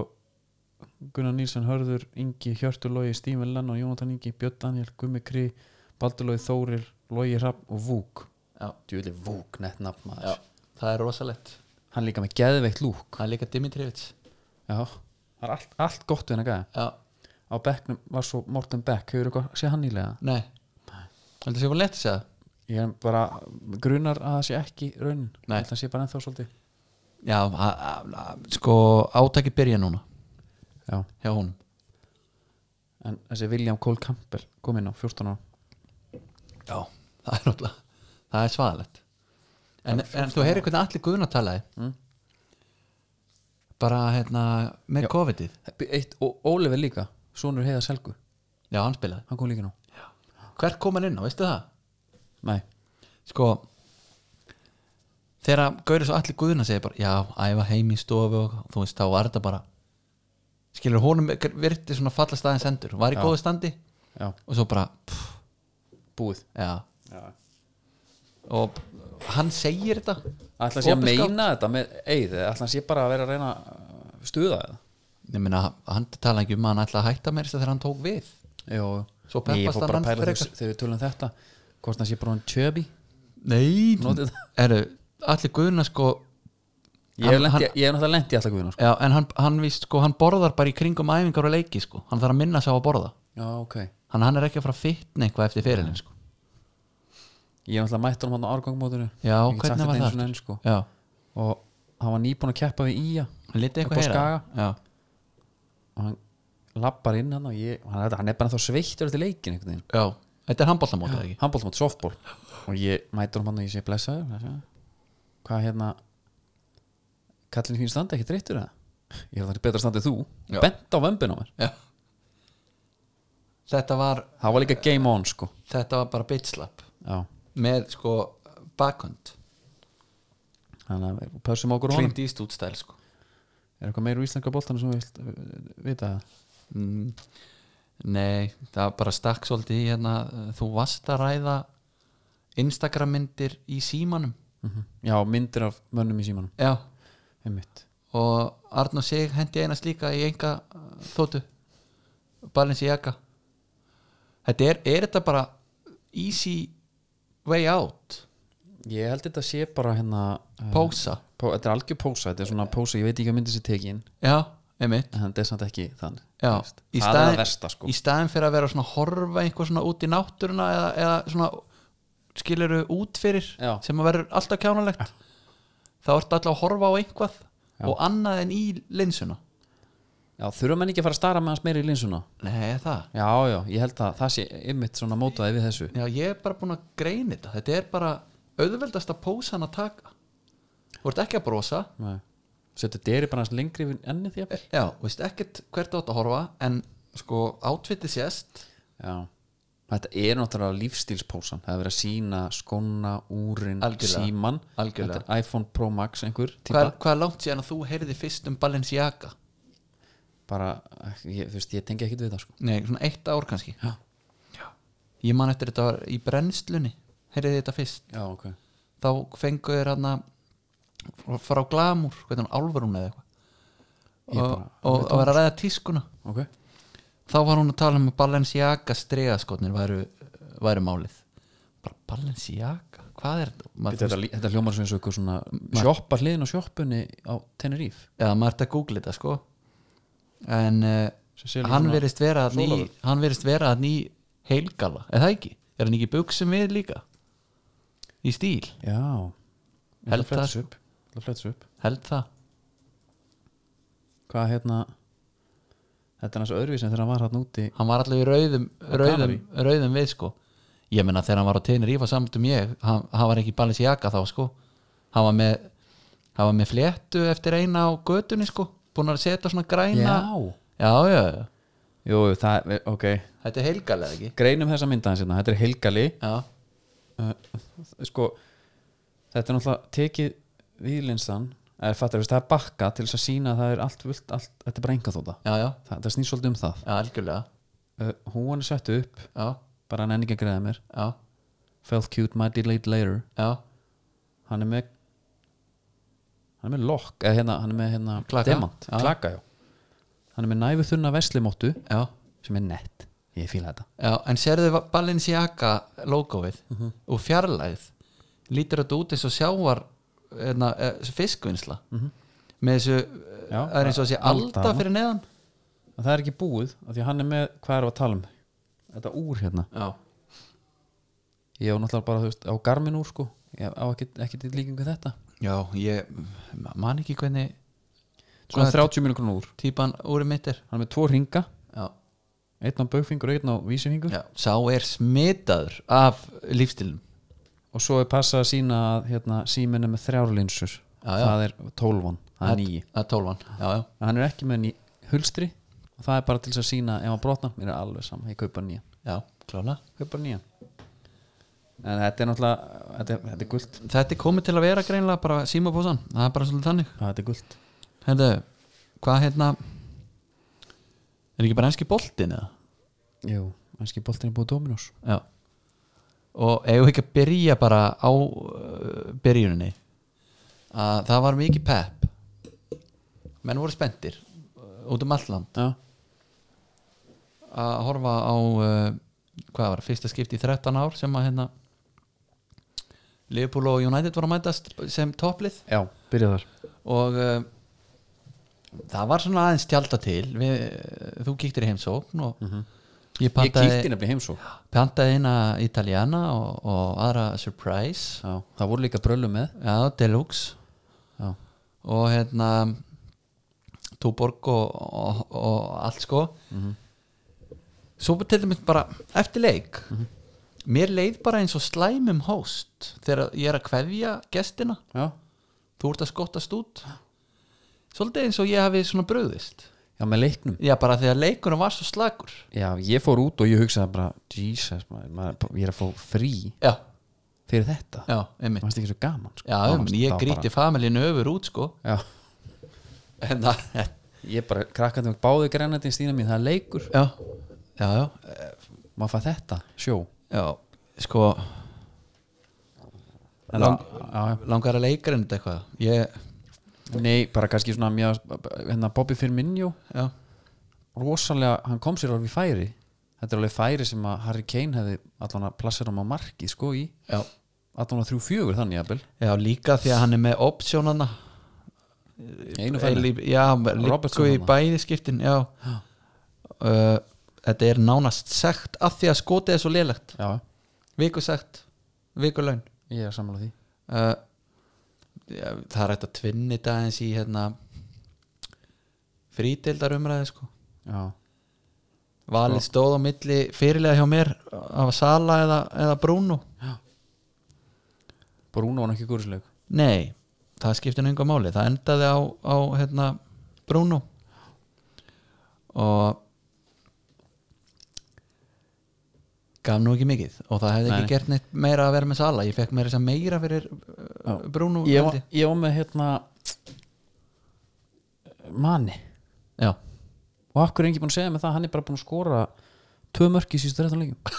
Speaker 1: Gunnar Nílsson Hörður, Ingi Hjörtur Lógi, Stímen Lenn og Jónatan Ingi Björn Daniel, Gummi Kri, Baldur Lógi Þórir Lógi Hrapp og Vúk
Speaker 2: já,
Speaker 1: djúli Vúk, nett nafn
Speaker 2: já. það er rosalegt
Speaker 1: hann líka með geðveikt lúk
Speaker 2: það er líka Dimitrivits
Speaker 1: já, það er allt, allt gott við hennar gæða
Speaker 2: já,
Speaker 1: á bekknum var svo Morten Beck, hefur eitthvað sé hann ílega
Speaker 2: nei heldur þess að ég var lett að segja það?
Speaker 1: ég er bara grunar að það sé ekki raunin,
Speaker 2: Nei.
Speaker 1: þetta sé bara ennþá svolítið
Speaker 2: já, a- a- a- sko átaki byrja núna
Speaker 1: já,
Speaker 2: hjá honum
Speaker 1: en þessi William Cole Campbell kom inn á 14 ára
Speaker 2: já, það er náttúrulega það er svaðalegt en, en þú heyrir hvernig allir guðna talaði
Speaker 1: Mm.
Speaker 2: bara hérna með COVID-ið
Speaker 1: Eitt, og Oliver líka, sonur heiða Selgu
Speaker 2: já, hann spilaði
Speaker 1: hann kom líka nú
Speaker 2: hvert kom hann inn á, veistu það?
Speaker 1: Nei.
Speaker 2: sko þegar Gaurið svo allir guðuna segir bara já, æfa heim í stofu og þú veist, þá var þetta bara skilur honum virti svona falla staðin sendur var í
Speaker 1: Já.
Speaker 2: góðu standi
Speaker 1: já,
Speaker 2: og svo bara pff,
Speaker 1: búið
Speaker 2: já.
Speaker 1: já.
Speaker 2: og hann segir þetta
Speaker 1: ætla sé að
Speaker 2: Opinskátt.
Speaker 1: meina þetta með eið ætla sé bara að vera að reyna að stuða það
Speaker 2: ég meina, hann talaði ekki um að hann ætla að hætta mér þegar hann tók við
Speaker 1: Jó,
Speaker 2: Svo
Speaker 1: ég
Speaker 2: peppast
Speaker 1: fór bara
Speaker 2: hann
Speaker 1: að
Speaker 2: ennþá
Speaker 1: pæla
Speaker 2: frekar.
Speaker 1: þegar þegar við tölum um þetta hvort hann sé bara hann tjöbi
Speaker 2: nei,
Speaker 1: Notið það.
Speaker 2: eru allir guðuna sko
Speaker 1: ég hef
Speaker 2: Hann-
Speaker 1: lent í-
Speaker 2: hann-
Speaker 1: ég hef náttúrulega lent í alltaf guðinu sko.
Speaker 2: já, en hann, hann víst sko, hann borðar bara í kringum æfingar og leiki sko, hann þarf að minna sig á að borða
Speaker 1: já, ok
Speaker 2: hann, hann er ekki að fara að fitna eitthvað eftir fyrirlin sko.
Speaker 1: ég hef náttúrulega mætt honum hann á árgangmótinu
Speaker 2: já,
Speaker 1: Ég get sagt
Speaker 2: hvernig
Speaker 1: þetta
Speaker 2: var
Speaker 1: einu
Speaker 2: það?
Speaker 1: sinni enn, sko.
Speaker 2: já,
Speaker 1: og hann var nýbúin að keppa við Ía
Speaker 2: hann liti
Speaker 1: Upp á
Speaker 2: eitthvað heyra já,
Speaker 1: og hann lappar inn hann og ég, hann, er- hann er bara þá sveittur eftir leikin einhvern veginn
Speaker 2: já, þetta er handbóltamóta ekki
Speaker 1: handbólt mot softball og ég mætur hann og ég sé blessaður blessaður. hvað hérna kallin þín standi ekki dreittur eða ég er þannig betra standið þú
Speaker 2: Já.
Speaker 1: bent á vömbin á mér
Speaker 2: já. þetta var
Speaker 1: það var líka game on sko
Speaker 2: þetta var bara bitslap
Speaker 1: já
Speaker 2: með sko bakhund
Speaker 1: þannig að við pössum okkur á honum
Speaker 2: Clint Eastwood stæl sko
Speaker 1: er eitthvað meira úr íslenska boltan sem við vilt uh, vita það
Speaker 2: mm, nei, það var bara stakk svolítið í hérna, uh, þú varst að ræða Instagram myndir í símanum
Speaker 1: Mhm. já myndir af mönnum í símanum
Speaker 2: já,
Speaker 1: einmitt
Speaker 2: og Arnur Sig hendi einast líka í enga uh, þóttu balins í jaka þetta er, er þetta bara easy way out
Speaker 1: ég held þetta sé bara hérna uh,
Speaker 2: pósa
Speaker 1: pó, þetta er algjör pósa þetta er svona pósa ég veit ekki að myndi sér tekin
Speaker 2: já, einmitt
Speaker 1: en þetta er samt ekki þannig Þú
Speaker 2: Já,
Speaker 1: veist.
Speaker 2: í
Speaker 1: það er
Speaker 2: staðin-
Speaker 1: það versta sko
Speaker 2: í staðin fyrir að vera svona að horfa einhver svona út í náttúruna eða, eða svona skiluru út fyrir
Speaker 1: Já.
Speaker 2: sem að verður alltaf kjánalegt þá ertu alltaf að horfa á einhvað
Speaker 1: Já.
Speaker 2: og annað en í linsuna
Speaker 1: já þurfa menn ekki að fara að stara með hans meira í linsuna
Speaker 2: Nei, það
Speaker 1: Já, já, ég held að það sé ymmit svona mótaði við þessu
Speaker 2: Já, ég er bara búin að greina þetta þetta er bara auðveldasta pósan að taka þú ert ekki að brosa E,
Speaker 1: Nei. Setur deri bara hans lengri yfir ennið því
Speaker 2: Já, þú veist ekkert hvert þú átt að horfa en sko átvitið sést
Speaker 1: Já Þetta er náttúrulega lífstílspósan Það er verið að sína skóna, úrin,
Speaker 2: Algjörlega.
Speaker 1: síman
Speaker 2: Algjörlega.
Speaker 1: Þetta er iPhone Pro Max einhver
Speaker 2: hvað,
Speaker 1: típa,
Speaker 2: er- hvað er langt síðan að þú heyrði fyrst um Balenciaga
Speaker 1: bara, ég, þú veist, ég tengi ekki við það sko.
Speaker 2: Nei, svona eitt ár kannski
Speaker 1: Já.
Speaker 2: Ég man eftir þetta var í brennslunni Heyrið þetta fyrst
Speaker 1: Já, ok
Speaker 2: Þá fengu þér hann frá glamur, hvernig hann álfurún eða eitthvað
Speaker 1: Ég
Speaker 2: og,
Speaker 1: bara-
Speaker 2: og, og var að ræða tískuna
Speaker 1: Ok,
Speaker 2: þá var hún að tala um að Balenciaga stregaskotnir væru, væru málið bara Balenciaga, hvað er þetta?
Speaker 1: Bíddu,
Speaker 2: Maður,
Speaker 1: þetta, þetta hljómar sem eins og eitthvað svona sjoppa hliðin á sjoppunni á Tenerife
Speaker 2: já, maður ert að googla þetta sko en uh,
Speaker 1: Sem sé líka
Speaker 2: hann
Speaker 1: svona
Speaker 2: verist vera að ný,
Speaker 1: sólarvörn.
Speaker 2: hann verist vera að ný heilgala, er það ekki? Er hann ekki í buksum við líka? Í stíl,
Speaker 1: Já Ég ætla
Speaker 2: Held
Speaker 1: að fletta
Speaker 2: það,
Speaker 1: þessu upp. Ég ætla að fletta þessu upp
Speaker 2: held það
Speaker 1: Hvað hérna Þetta er hans öðruvísin þegar hann var hann úti
Speaker 2: hann var allavega í rauðum, rauðum,
Speaker 1: Kanarí.
Speaker 2: rauðum við sko ég meina þegar hann var á Tenerife samt um ég hann, hann var ekki í Balenciaga þá sko hann var með, hann var með fléttu eftir eina á götunni sko búin að setja svona græna
Speaker 1: Já
Speaker 2: já, já, já.
Speaker 1: Jú, það, er- ok
Speaker 2: þetta er heilgalega ekki
Speaker 1: Greinum þessa mynda hans hérna, þetta er Helgali
Speaker 2: já,
Speaker 1: uh, Sko, þetta er náttúrulega tekið við linsan er, fattar, veist, það er bakka til þess að sína það er allt, vilt, allt þetta er bara enga þóta
Speaker 2: já, já,
Speaker 1: það, það snýr svolítið um það
Speaker 2: já, algjörlega
Speaker 1: uh, hún er sett upp,
Speaker 2: já,
Speaker 1: bara hann enn ekki að greiða mér
Speaker 2: já,
Speaker 1: felt cute, might delete later
Speaker 2: já,
Speaker 1: hann er með hann er með lokk, eða hérna hann er með hérna
Speaker 2: Klaka.
Speaker 1: demant,
Speaker 2: Já.
Speaker 1: klaka já hann er með næfu þunna veslimóttu
Speaker 2: já,
Speaker 1: sem er nett, ég fíla þetta
Speaker 2: já en sérðu Balenciaga logoið
Speaker 1: Mhm.
Speaker 2: og fjarlæð lítur þetta út eins og sjávar eðna, e, fiskvinnsla með þessu, eh,
Speaker 1: Mhm. Já,
Speaker 2: það er eins og þessi
Speaker 1: alda
Speaker 2: alda
Speaker 1: þarna.
Speaker 2: fyrir neðan
Speaker 1: en það er ekki búið, af því að hann er með hvað er að tala um, þetta úr hérna
Speaker 2: já,
Speaker 1: ég á náttúrulega bara, þú veist, á garmin úr sko ég á ekki, ekki til líkingu um þetta
Speaker 2: já, ég ma- man ekki hvernig
Speaker 1: svona
Speaker 2: Hvað er
Speaker 1: 30 minnum krónur úr,
Speaker 2: típan úr mitt er
Speaker 1: hann er með tvo ringa
Speaker 2: já,
Speaker 1: einn á baugfingur og einn á vísifingur
Speaker 2: já, sá er smitaður af lífstilum
Speaker 1: og svo er passað að sína að hérna, síminn er með þrjárlinsur
Speaker 2: Já, já.
Speaker 1: það er 12, það er 9
Speaker 2: að tólvan, já, já,
Speaker 1: en hann er ekki með ný, hulstri og það er bara til þess að sína ef hann brotnar, mér er alveg saman, ég kaupa nýja
Speaker 2: já, klála
Speaker 1: kaupa nýja en þetta er náttúrulega, þetta er, þetta er gult
Speaker 2: þetta er komið til að vera greinlega bara símabósan, það er bara svolítið þannig
Speaker 1: Já, þetta er gult
Speaker 2: Herðu, hvað hérna er ekki bara enski boltin eða?
Speaker 1: Jú, kannski boltin er búið Dominos
Speaker 2: Já og eigum við ekki að byrja bara á uh, byrjuninni að það var mikið pep menn voru spenntir uh, út um allan
Speaker 1: Já,
Speaker 2: að horfa á uh, hvað var, fyrsta skipti í 13 ár sem að hérna Liverpool og United voru að mætast sem topplið
Speaker 1: já byrja þar
Speaker 2: og uh, það var svona aðeins tjálta til við, þú kíktir í heimsókn og ég
Speaker 1: Mhm. Ég kíkti
Speaker 2: pantaði,
Speaker 1: nefnilega í heimsók
Speaker 2: pantaði inn að Italiana og, og aðra Surprise
Speaker 1: Já, það voru líka bröllu með
Speaker 2: já, Deluxe
Speaker 1: Já,
Speaker 2: og hérna Túborg og, og, og allt sko
Speaker 1: Mhm.
Speaker 2: svo bara til dæmis bara eftir leik
Speaker 1: Mhm.
Speaker 2: mér leið bara eins og slæmum host þegar ég er að kveðja gestina
Speaker 1: já,
Speaker 2: þú ert að skottast út svolítið eins og ég hafi svona brugðist
Speaker 1: já með leiknum
Speaker 2: já bara þegar leikunum var svo slagur
Speaker 1: Já, ég fór út og ég hugsaði bara Jesus, maður, maður, ég er að fá frí
Speaker 2: já,
Speaker 1: fyrir þetta
Speaker 2: já, einmitt
Speaker 1: Mér fannst ekki svo gaman sko.
Speaker 2: já,
Speaker 1: Það
Speaker 2: um,
Speaker 1: fannst-
Speaker 2: ég
Speaker 1: það var
Speaker 2: gríti familinu öfur út sko
Speaker 1: bara,
Speaker 2: en það
Speaker 1: Já, ég bara krakkandi með báði grænandi stína mín, það er leikur
Speaker 2: já, já, já, eh,
Speaker 1: maður fæ þetta, sjó
Speaker 2: já sko,
Speaker 1: En
Speaker 2: Lang-
Speaker 1: það- já,
Speaker 2: langar að leikar en þetta eitthvað ég,
Speaker 1: já. Nei, bara kannski svona mjög, hérna, Bobby Firmino
Speaker 2: já,
Speaker 1: rosalega, hann kom sér alveg í færi þetta er alveg færi sem að Harry Kane hefði allan að plassera um á marki sko í
Speaker 2: já
Speaker 1: allan að þrjú fjögur þannig jafnvel
Speaker 2: já, líka því að hann er með opsjónana
Speaker 1: einu færi,
Speaker 2: já,
Speaker 1: Robertson
Speaker 2: líku í
Speaker 1: þarna.
Speaker 2: bæði skiptin já uh, þetta er nánast sagt að því að skotið er svo lélegt
Speaker 1: já,
Speaker 2: vikusekt, vikulaun
Speaker 1: ég er sammála því
Speaker 2: uh, já, það er hægt að tvinni dagins í hérna frítildarumræði sko
Speaker 1: já,
Speaker 2: valið stóð á milli fyrirlega hjá mér af að Sala eða, eða Bruno
Speaker 1: Bruno var nú ekki gurisleik
Speaker 2: nei, það skiptir enga máli það endaði á, á hérna Bruno og gaf nú ekki mikið og það hefði
Speaker 1: Nei.
Speaker 2: ekki gert neitt meira að vera með Sala ég fekk meira þess að meira fyrir uh,
Speaker 1: Já.
Speaker 2: Bruno
Speaker 1: ég,
Speaker 2: held
Speaker 1: var- ég var með hérna manni
Speaker 2: Já,
Speaker 1: og akkur er enginn búin að segja með það hann er bara búin að skora tvö mörki í sístu 13 leikum
Speaker 2: *laughs*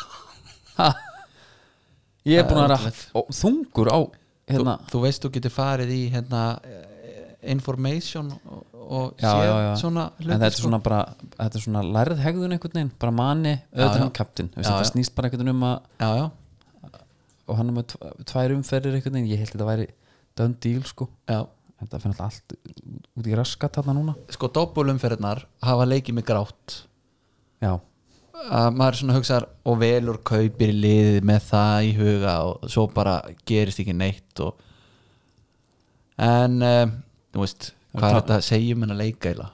Speaker 1: Ha. ég er búin að vera og þungur á hérna
Speaker 2: þú, þú veist þú getur farið í hérna eh, information og, og
Speaker 1: Já,
Speaker 2: séð
Speaker 1: já, já.
Speaker 2: svona
Speaker 1: en þetta er
Speaker 2: sko.
Speaker 1: svona bara þetta er svona lærð hegðun einhvern veginn bara manni,
Speaker 2: Já,
Speaker 1: öðru
Speaker 2: já.
Speaker 1: hann kaptinn Þú veist,
Speaker 2: Já,
Speaker 1: þetta
Speaker 2: já.
Speaker 1: snýst bara einhvern veginn um að
Speaker 2: já, já,
Speaker 1: og hann er með tv- tvær umferðir einhvern veginn ég held þetta væri done deal sko
Speaker 2: já.
Speaker 1: þetta finnst allt út í raskat þarna núna
Speaker 2: sko doppulumferðnar hafa leikið mig grátt
Speaker 1: já,
Speaker 2: að maður svona hugsar og velur kaupir liðið með það í huga og svo bara gerist ekki neitt og en um, þú veist, hvað er
Speaker 1: Það-
Speaker 2: þetta að segja um hennar leikæla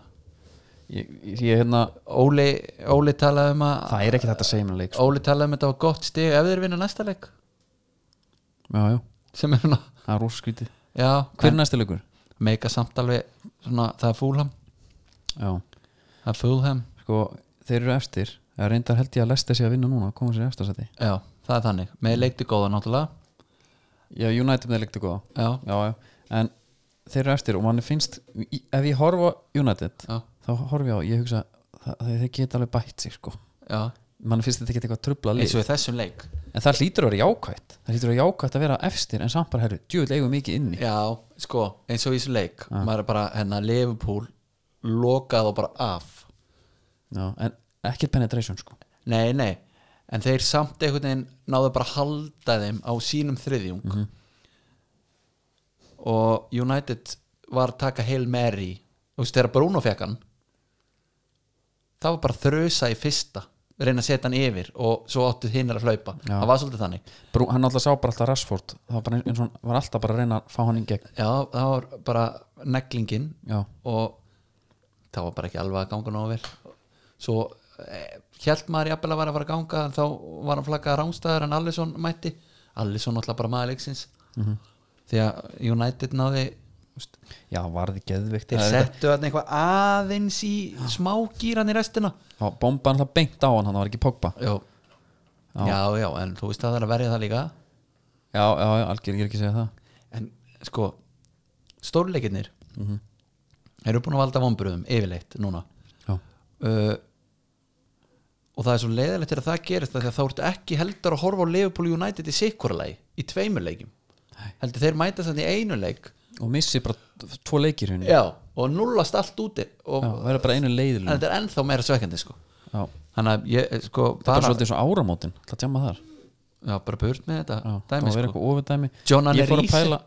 Speaker 1: ég, ég, ég hérna
Speaker 2: Óli, Óli talaði um að
Speaker 1: það er ekki þetta að segja mér leik sko.
Speaker 2: Óli talaði um að þetta var gott stig ef þeir vinna næsta leik
Speaker 1: já, já,
Speaker 2: sem er svona,
Speaker 1: það er rosa skrítið
Speaker 2: já
Speaker 1: hver er næsti leikur?
Speaker 2: meika samt alveg svona, það er fúlham
Speaker 1: já,
Speaker 2: það er fúlham,
Speaker 1: sko þeir eru eftir eða reyndar held ég að lesta sig að vinna núna koma sér í eftir sæti
Speaker 2: já, Mm. það er þannig með leikti góða náttúrulega
Speaker 1: já, United með leikti góða
Speaker 2: já,
Speaker 1: já, já, en þeir eru eftir og mann finnst í- ef ég horfa United
Speaker 2: já,
Speaker 1: þá horfi ég á, ég hugsa það, það, þeir geta alveg bætt sig sko
Speaker 2: já
Speaker 1: mann finnst þetta ekki eitthvað trubla lið
Speaker 2: eins og í þessum leik
Speaker 1: en það hlýtur að vera jákvætt það hlýtur að vera jákvætt að vera efstir en samt bara herru, djúvill eigum mikið inni
Speaker 2: já, sko, eins og í þessum leik maður er bara, hérna, Liverpool lokað og bara af
Speaker 1: Já, en ekkert penetration sko
Speaker 2: nei, nei, en þeir samt einhvern veginn náðu bara að halda þeim á sínum þriðjung og United var að taka Hail Mary og veist þegar Bruno fekk hann það var bara að þrösa í fyrsta reyna að setja hann yfir og svo áttu hinn að hlaupa,
Speaker 1: Já.
Speaker 2: það var svolítið þannig
Speaker 1: Brú, hann alltaf sá bara alltaf Rashford það var, bara eins og, hann var alltaf bara að reyna að fá hann í gegn
Speaker 2: já, það var bara neglingin
Speaker 1: já,
Speaker 2: og það var bara ekki alveg að ganga nógu vel svo eh, held maður jafnvel að var að fara að ganga en þá var hann flaggað rángstæður en Allison mætti Allison náttúrulega bara maður leiksins því að United náði úst,
Speaker 1: já varði geðvikt
Speaker 2: þeir settu hann eitthvað aðeins í smágýran í restina
Speaker 1: þá bomba alltaf beint á hann, hann var ekki Pogba
Speaker 2: já.
Speaker 1: Já.
Speaker 2: já, já, en þú veist að það er að verja það líka
Speaker 1: já, já, já algjör, ég er ekki að segja það
Speaker 2: en sko stórleikinnir eru búin að valda vombröðum yfirleitt núna
Speaker 1: já,
Speaker 2: uh, og það er svo leiðilegt þegar það gerist af því að þá ertu ekki heldur að horfa á Liverpool United í sikkurlegi, í tveimur leikjum heldur þeir mæta sann í einu leik
Speaker 1: og missi bara t- tvo leikir hún já,
Speaker 2: já, og nullast allt úti og,
Speaker 1: það er bara einu
Speaker 2: en
Speaker 1: leiðilun
Speaker 2: þetta er ennþá meira svekkandi sko.
Speaker 1: já,
Speaker 2: þannig að ég sko
Speaker 1: það er
Speaker 2: bara,
Speaker 1: svolítið eins og áramótin það tjama þar,
Speaker 2: já, bara burt með þetta
Speaker 1: já, það
Speaker 2: dæmi
Speaker 1: var verið
Speaker 2: sko
Speaker 1: eitthvað ofurdæmi
Speaker 2: John hann
Speaker 1: ég
Speaker 2: er
Speaker 1: fór
Speaker 2: í
Speaker 1: að pæla,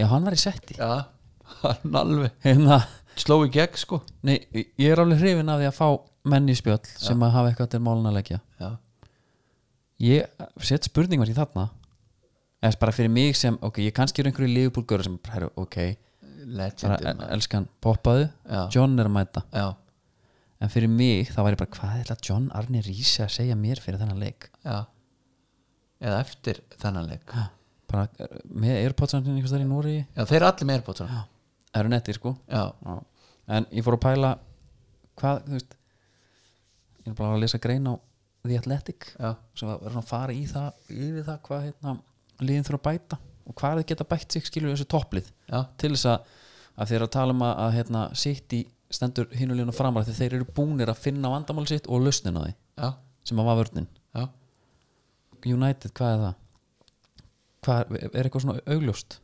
Speaker 1: já, hann var í setti
Speaker 2: já, *laughs* hann alveg
Speaker 1: hérna,
Speaker 2: sló í gegn sko
Speaker 1: nei, ég er alveg hrifin af því að fá menn í spjöll sem að hafa eitthvað til málun að leggja
Speaker 2: já,
Speaker 1: ég set spurningum í þarna eða bara fyrir mig sem, ok, ég kannski er einhverju lífbúlgöru sem, bara, heyrðu, ok bara
Speaker 2: legendin
Speaker 1: el- elskan poppaðu,
Speaker 2: Já.
Speaker 1: John er að mæta
Speaker 2: já,
Speaker 1: en fyrir mig þá var ég bara, hvað er þetta John Arne Rísi að segja mér fyrir þennan leik
Speaker 2: já eða eftir þennan leik
Speaker 1: bara eh, með Airpods-ansin einhvers þar í Nóri
Speaker 2: já, þeir eru allir með erbóttur já,
Speaker 1: eru nettir sko
Speaker 2: já,
Speaker 1: Já. en ég fór að pæla hvað, þú veist ég er bara að lesa grein á The Athletic
Speaker 2: já.
Speaker 1: sem var svona að fara í það yfir það hvað hérna liðin þurfa að bæta og hvað þau geta bætt sig skilur þessu topplið
Speaker 2: já.
Speaker 1: til þess að, að þeir eru að tala um að, að hérna, sitt í stendur hinuleguna framar þegar þeir eru búnir að finna vandamál sitt og lausnin á því
Speaker 2: já,
Speaker 1: sem að var vörnin
Speaker 2: já,
Speaker 1: United, hvað er það? Hvað er, er eitthvað svona augljóst?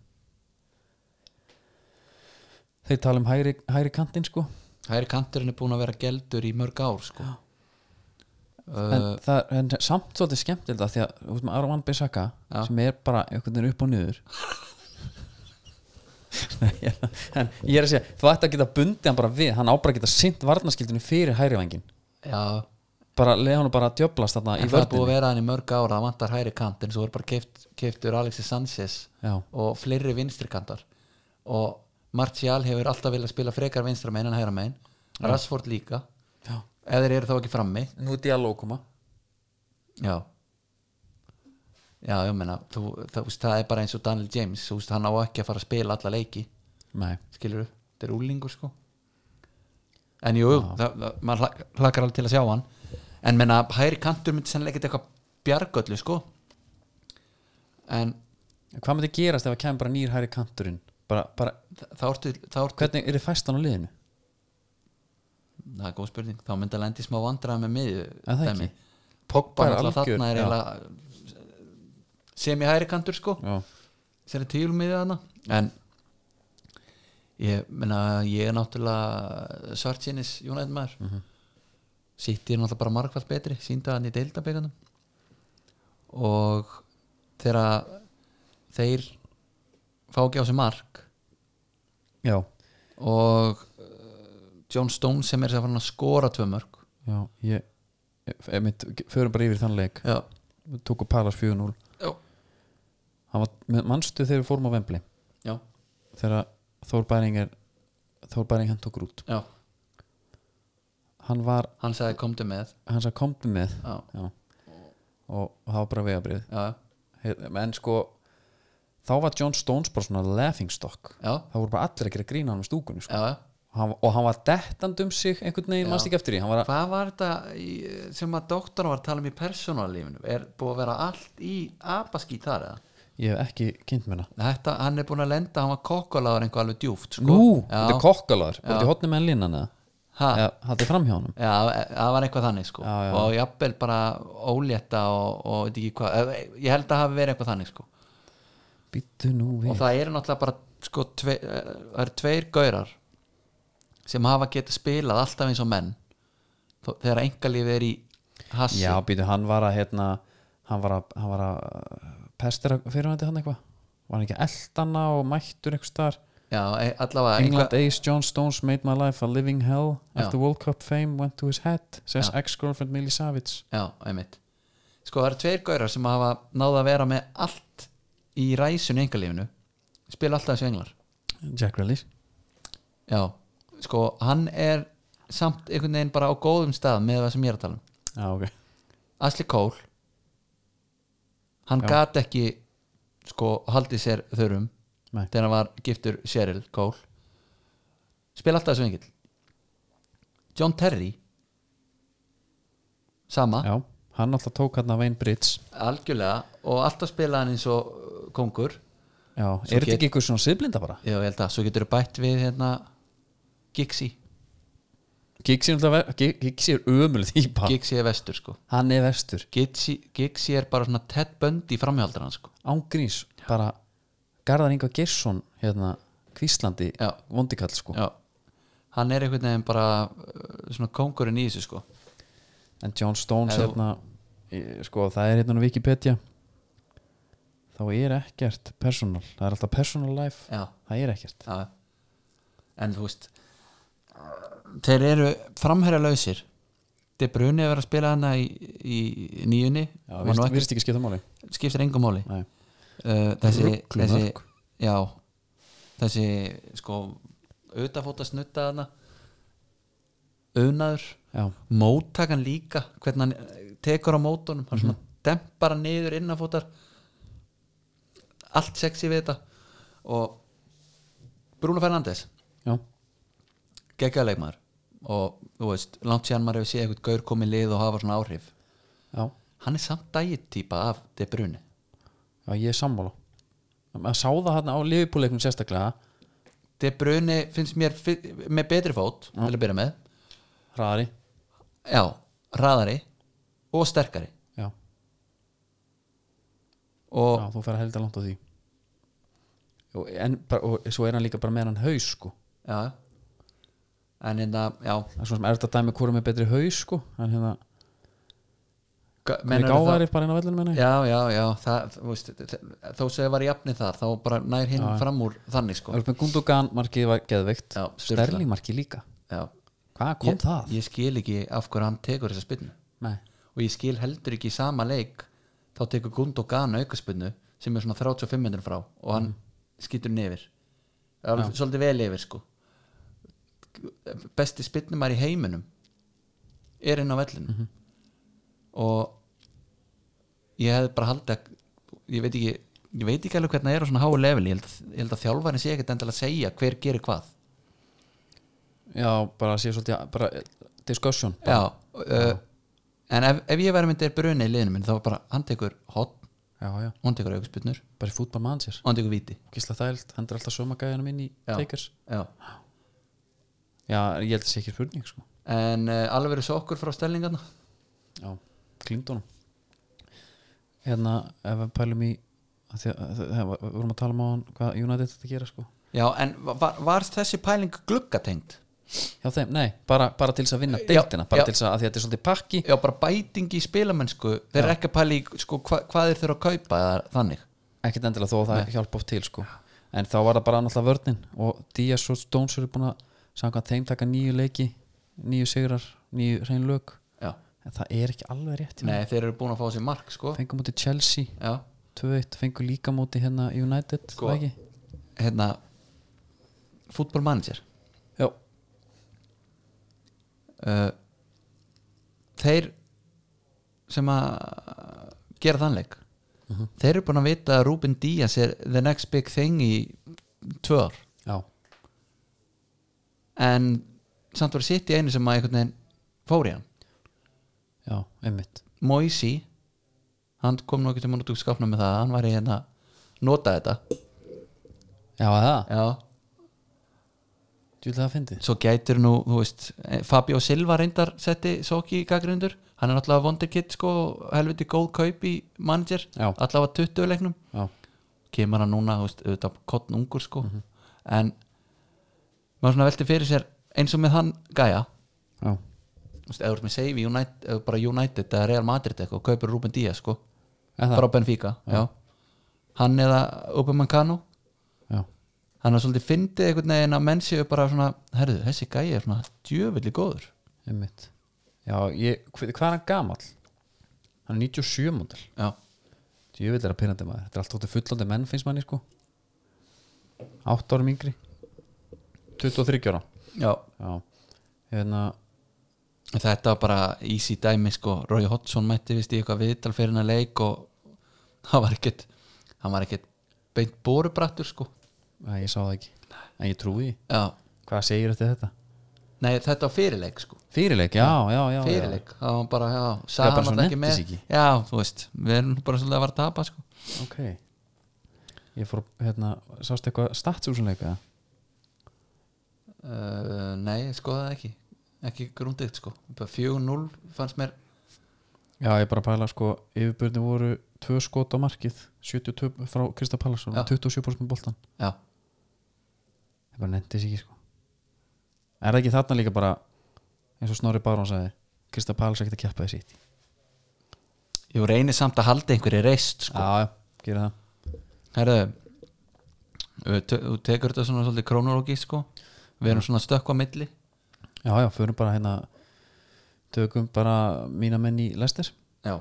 Speaker 1: Þeir tala um hægri, hægri kantinn sko
Speaker 2: hægri kanturinn er búin að vera geldur í mörg ár sko.
Speaker 1: en,
Speaker 2: uh,
Speaker 1: það, en samt svolítið skemmtilega því að út með Arvan Bissaka
Speaker 2: Já.
Speaker 1: sem er bara einhvern veginn upp og niður Nei, ég er- en ég er að segja þú ætti að geta bundið hann bara við hann á bara að geta sint varnaskildinu fyrir hægri vangin
Speaker 2: já,
Speaker 1: bara leið hann bara að djöblast þarna
Speaker 2: en
Speaker 1: í
Speaker 2: það er búin að
Speaker 1: vördinni
Speaker 2: vera hann í mörg ár það vantar hægri kant en svo er bara keift, keiftur Alexi Sanchez
Speaker 1: já,
Speaker 2: og fleiri vinstri kantar og Martial hefur alltaf viljað spila frekar vinstra megin en hægra megin Rashford líka
Speaker 1: já.
Speaker 2: eða þeir eru þá ekki frammi
Speaker 1: nú er dialóg koma
Speaker 2: já já, ég meina, þú, það, þú, það er bara eins og Daniel James, þú veist, hann á ekki að fara að spila alla leiki
Speaker 1: nei,
Speaker 2: skilur þetta er úlingur sko en jú, það, það, maður hla- hlakkar alveg til að sjá hann en menna, hægri kantur myndi sennilega ekkert eitthvað bjargöllu sko en
Speaker 1: hvað myndi gerast ef að kemur bara nýr hægri kanturinn bara, bara,
Speaker 2: þa- þá ertu, þá ertu
Speaker 1: hvernig er þið fæstan á liðinu
Speaker 2: það er góð spurning, þá myndi að lendi smá vandræða með miðju
Speaker 1: Er það
Speaker 2: dæmi.
Speaker 1: ekki?
Speaker 2: Pogba
Speaker 1: Það er
Speaker 2: náttúrulega
Speaker 1: algjör,
Speaker 2: þarna er
Speaker 1: já.
Speaker 2: eiginlega sem í hægri kantur sko
Speaker 1: já,
Speaker 2: sem er tílmiðið hana um en ég, menna, ég er náttúrulega svartsinnis United maður mm -hmm. er náttúrulega bara margfald betri sínda hann í deildabeikanum og þegar þeir fá ekki á sig mark
Speaker 1: já,
Speaker 2: og uh, John Stone sem er sér farin að skora tvö mörg
Speaker 1: já ég, ég, ég mynd, förum bara yfir þann leik
Speaker 2: já,
Speaker 1: við tókum Palas 4-0
Speaker 2: já,
Speaker 1: Hann var- manstu þegar við fórum á Vembli
Speaker 2: já,
Speaker 1: þegar Þór Bæring er Þór Bæring hann tók rút
Speaker 2: já.
Speaker 1: hann var,
Speaker 2: hann sagði komdu með
Speaker 1: hann sagði komdu með
Speaker 2: já,
Speaker 1: já. og og það var bara vegabrið
Speaker 2: já,
Speaker 1: en sko þá var John Stones bara svona laughing stock
Speaker 2: já,
Speaker 1: það voru bara allir að gera grína hann með stúkunni sko.
Speaker 2: já, já.
Speaker 1: hann, og hann var dettand um sig einhvern veginn, mannst ekki eftir því hann var að,
Speaker 2: Hvað var þetta í- sem að doktor var að tala um í persónalífinu? Er búið að vera allt í apaskít þar eða?
Speaker 1: ég hef ekki kynnt mér hana
Speaker 2: Þetta, hann er búin að lenda, hann var kokkalaður einhver alveg djúft sko.
Speaker 1: Nú,
Speaker 2: já,
Speaker 1: þetta er kokkalaður Bara út í hotni með línan eða
Speaker 2: ha, já.
Speaker 1: Eða Þetta er framhjá honum
Speaker 2: það var eitthvað þannig sko.
Speaker 1: Já, já.
Speaker 2: og jafnvel bara ólétta og, og veit ekki hvað, Eh, ég held að það hafi verið eitthvað þannig sko.
Speaker 1: Býttu nú
Speaker 2: og
Speaker 1: við
Speaker 2: það eru náttúrulega bara sko, tve, eh, það eru tveir gaurar sem hafa getið spilað alltaf eins og menn þó- þegar engalífið er í hassi
Speaker 1: Já, býttu, hann var að hérna Hann var að, hann var að uh, Pestera fyrirvændi hann eitthvað Var hann ekki eldana og mættur eitthvað star
Speaker 2: Já, e- allavega
Speaker 1: England Ace John Stones made my life a living hell
Speaker 2: Já.
Speaker 1: After World Cup fame went to his head Says ex-girlfriend Millie Savitz
Speaker 2: Já, einmitt Sko, það eru tveir gaurar sem hafa náða að vera með allt í ræsunu engalífinu spila alltaf þessu englar
Speaker 1: Jack Relish
Speaker 2: Já, sko, hann er samt einhvern veginn bara á góðum stað með það sem ég er að tala um
Speaker 1: Já, ok
Speaker 2: Asli Kól hann
Speaker 1: Já.
Speaker 2: gat ekki sko, haldið sér þurrum
Speaker 1: Nei.
Speaker 2: þegar hann var giftur Cheryl Kól spila alltaf þessu engill John Terry sama
Speaker 1: Já, hann alltaf tók hann að Wayne Bridge
Speaker 2: algjörlega og alltaf spila hann eins og uh, kóngur
Speaker 1: Já,
Speaker 2: Svo
Speaker 1: er þetta
Speaker 2: get-
Speaker 1: ekki ykkur svona siðblinda bara?
Speaker 2: já, ég held að svo getur bætt við hérna Gixi,
Speaker 1: Giggs er alltaf, Giggs er ömul þýpa
Speaker 2: Gixi er vestur sko
Speaker 1: Hann er vestur,
Speaker 2: Gixi, Gixi er bara svona Ted Bundy framhjaldar hann sko
Speaker 1: ángrís bara Garðar Inga Gersson hérna, Kvíslandi
Speaker 2: Já.
Speaker 1: vondikall sko
Speaker 2: já. hann er einhvern veginn bara uh, svona kóngurinn í þessu sko
Speaker 1: en John Stones
Speaker 2: Ef þú-
Speaker 1: hérna, í- sko það er hérna á Wikipedia þá er ekkert personal, það er alltaf personal life
Speaker 2: já,
Speaker 1: það er ekkert
Speaker 2: já. en þú veist þeir eru framherja lausir De Bruyne er að spila hana í, í nýjunni
Speaker 1: Já,
Speaker 2: Var nú
Speaker 1: virðist,
Speaker 2: ekki-
Speaker 1: virðist ekki skipta máli
Speaker 2: skiptir engum máli
Speaker 1: Nei.
Speaker 2: uh, þessi,
Speaker 1: Ruglumörk.
Speaker 2: þessi já þessi sko auðafóta snutta hana auðnaður
Speaker 1: Já,
Speaker 2: móttakan líka hvernig hann eh, tekur á mótunum hann svona dempar hann niður innanfótar allt sexy við þetta og Bruno Fernandes
Speaker 1: já,
Speaker 2: geggjaður leikmaður og þú veist, langt síðan maður hefur séð eitthvað gaur komið lið og hafa svona áhrif
Speaker 1: já,
Speaker 2: hann er samt dægitýpa af De Bruyne
Speaker 1: já ég er sammála að sá það hérna á liðbúleiknum sérstaklega
Speaker 2: De Bruyne finnst mér fi- með betri fót til að byrja með
Speaker 1: hraðari,
Speaker 2: já, hraðari og sterkari
Speaker 1: já,
Speaker 2: og
Speaker 1: já, þú fer að helda langt á því og, en, bara, og svo er hann líka bara með hann haus sko
Speaker 2: já en hérna, já
Speaker 1: það er svona sem erft að dæmi hvora með betri haus sko hann hérna, hann er
Speaker 2: meinarðu það-
Speaker 1: gáðari bara inn á vellinu meina ég.
Speaker 2: já, já, já það, þú veist, þó sem það var jafni þar þá bara nær hinn fram úr þannig sko.
Speaker 1: Örben Gundogan markið var geðveikt
Speaker 2: Já, styrla.
Speaker 1: Sterling markið líka,
Speaker 2: já.
Speaker 1: hvað kom
Speaker 2: ég,
Speaker 1: það?
Speaker 2: ég skil ekki af hverju hann tekur þessa spynnu
Speaker 1: Nei,
Speaker 2: og ég skil heldur ekki í sama leik þá tekur Gundogan aukaspynnu sem er svona 35 minnur frá og hann skýtur nefir alveg, svolítið vel yfir sko. besti spynnumar í heiminum er inn á vellinu og ég hefði bara haldið að ég veit ekki, ég veit ekki alveg hvernig það er á svona háu level, ég held, að- ég held að þjálfærin sé ekkert endilega að segja hver gerir hvað
Speaker 1: já, bara sé svolítið bara eh, discussion
Speaker 2: já, uh, en ef, ef ég væri myndir brunni í liðinu minn þá var bara, hann tekur hot,
Speaker 1: já, já,
Speaker 2: hann tekur aukspilnur
Speaker 1: bara í fútbol mann sér
Speaker 2: og hann tekur viti
Speaker 1: Gísla þægild, hendur alltaf sömagæðinum inn í
Speaker 2: Já.
Speaker 1: teikers
Speaker 2: já.
Speaker 1: Já, ég held að sé ekki spurning sko
Speaker 2: en uh, alveg eru sokkur frá stellingarna
Speaker 1: Já, klingdónum Hérna, ef við pælum í að því að, að, að, við vorum að tala um á hann hvað United þetta gera sko
Speaker 2: já, en var, var þessi pæling gluggatengt?
Speaker 1: Já, þeim, nei, bara, bara til þess að vinna deildina bara
Speaker 2: já.
Speaker 1: til þess að, að því að þetta er svolítið pakki
Speaker 2: já, bara bæting í spilamennsku þeir eru ekki að pæli sko, hva, hvað þeir þurfa að kaupa eða þannig
Speaker 1: ekkert endilega þó að það hjálpa oft til sko. en þá var það bara náttúrulega vörnin og Díaz og Stones eru búin að samkvæmt þeim taka nýju leiki nýju sigrar, nýju reyn lög
Speaker 2: já.
Speaker 1: en það er ekki alveg rétt hjá
Speaker 2: nei, þeir eru búin að fá sér mark sko.
Speaker 1: þeim. fengu múti Chelsea
Speaker 2: já,
Speaker 1: 2-1, fengu líka múti hérna United
Speaker 2: Sko.
Speaker 1: var ekki?
Speaker 2: hérna fútbolmanager
Speaker 1: Já.
Speaker 2: uh, þeir sem að gera þannleik uh þeir eru búin að vita að Ruben Díaz er the next big thing í tvö ár
Speaker 1: Já.
Speaker 2: en samt voru sitt í einu sem að einhvern veginn fór í hann
Speaker 1: Já, einmitt
Speaker 2: um Moisi hann kom nú ekki til mann út úr skápnum með það að hann var í hérna nota þetta
Speaker 1: Já, er það,
Speaker 2: já,
Speaker 1: djúlega það fyndi
Speaker 2: svo gætir nú, þú veist eh, Fabio Silva reyndar setti Soki í gaggrundur, hann er alltaf vonderkitt sko, og helviti góð kaup í manager,
Speaker 1: Já.
Speaker 2: alltaf að 20 leiknum
Speaker 1: Já,
Speaker 2: kemur hann núna, þú veist, auðvitað kottn ungur sko, en maður svona velti fyrir sér eins og með hann gæja,
Speaker 1: já,
Speaker 2: þú veist, eða þú ert með save í United, eða bara United eða Real Madrid eitthvað, og kaupir Ruben Díaz sko,
Speaker 1: er það
Speaker 2: frá Benfica, já, hann eða Upamankano,
Speaker 1: Já,
Speaker 2: hann er svolítið fyndið einhvern veginn að menn séu bara svona, herðu, þessi gæja er svona djöfulli góður
Speaker 1: einmitt Já, ég, hv- hvað er hann gamall? Hann er 97 mótil
Speaker 2: já,
Speaker 1: Djúvill er að pyrrandi maður Þetta er allt ótið fullandi menn finnst manni sko 8 árum yngri 23 ára
Speaker 2: já
Speaker 1: Já, hérna
Speaker 2: þetta var bara easy dæmi sko Roy Hodgson mætti vist í eitthvað viðtal fyrir hennar leik og hann var ekkert hann var ekkert beint borubrattur sko
Speaker 1: Æ, ég sá það ekki En ég trúi því
Speaker 2: já,
Speaker 1: Hvað segir eftir þetta?
Speaker 2: nei þetta var fyrirleik sko
Speaker 1: Fyrirleik, já, já, já, já.
Speaker 2: fyrirleik, það var bara, já,
Speaker 1: bara
Speaker 2: sagði
Speaker 1: svo
Speaker 2: hann ekki
Speaker 1: nennti
Speaker 2: með
Speaker 1: sig ekki.
Speaker 2: já, þú veist, við erum nú bara svolítið að vera að tapa sko
Speaker 1: Ok Ég fór, hérna, sástu eitthvað statsúsunleika?
Speaker 2: uh, nei, ég skoðaði það ekki ekki grúndið sko, bara 4-0 fannst mér,
Speaker 1: Já, ég bara pæla sko Yfirbyrni voru tvö skot á markið 72 frá Krista Pallarsson
Speaker 2: Já.
Speaker 1: 27% með boltan
Speaker 2: já,
Speaker 1: Ég bara nefndi sér ekki sko Er það ekki þarna líka bara eins og Snorri Bárón sagði Krista Pallars ekkert að keppa þér sitt
Speaker 2: ég reynir samt að halda einhverju reist sko
Speaker 1: Já, já, gera það
Speaker 2: Herðu Þú te- þú tekur þetta svona svolítið krónológi sko. Við erum svona stökk á milli
Speaker 1: Já, já, förum bara hérna tökum bara mína menn í Lester
Speaker 2: Já,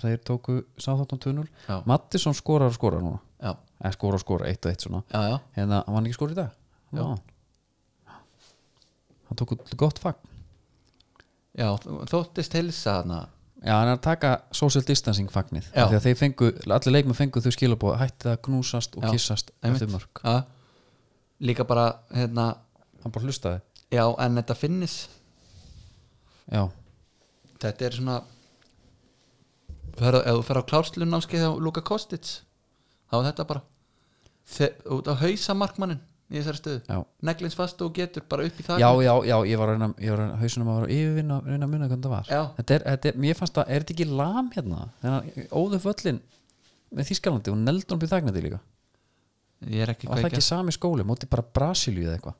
Speaker 1: þeir tóku sáþáttan 2-0
Speaker 2: já,
Speaker 1: Mattisson skorar og skorar núna
Speaker 2: já,
Speaker 1: eða skorar og skorar, eitt og eitt svona
Speaker 2: já, já.
Speaker 1: hérna, hann var ekki skorar í dag
Speaker 2: Já.
Speaker 1: Já. hann tók gott fag
Speaker 2: já þú- Þóttist hilsa þarna
Speaker 1: Já, hann er að taka social distancing fagnið
Speaker 2: Já.
Speaker 1: af því að þeir fengu, allir leikmenn fengu þau skilabóð hætti að knúsast og
Speaker 2: Já,
Speaker 1: kissast
Speaker 2: einmitt.
Speaker 1: eftir mörg,
Speaker 2: ja. Líka bara hérna,
Speaker 1: hann bara hlustaði
Speaker 2: Já, en þetta finnis
Speaker 1: Já,
Speaker 2: Þetta er svona Hörðu, ef þú fer á klárslun námskeið á Luka Kostits þá er þetta bara Þe, út að hausa markmannin í þessari stöðu
Speaker 1: já,
Speaker 2: neglins fast og getur bara upp í það
Speaker 1: já, já, já ég var að reyna, ég var að reyna hausunum að vera yfirvinna að reyna að muna hvernig það var
Speaker 2: Já.
Speaker 1: þetta er, þetta er, mér fannst að, er þetta ekki lam hérna þannig að óðu völlin með Þískalandi og neldur hann býð þagnandi líka
Speaker 2: Ég er ekki
Speaker 1: var það
Speaker 2: kveikja
Speaker 1: ekki sami skóli, móti bara Brasilíu eða eitthvað,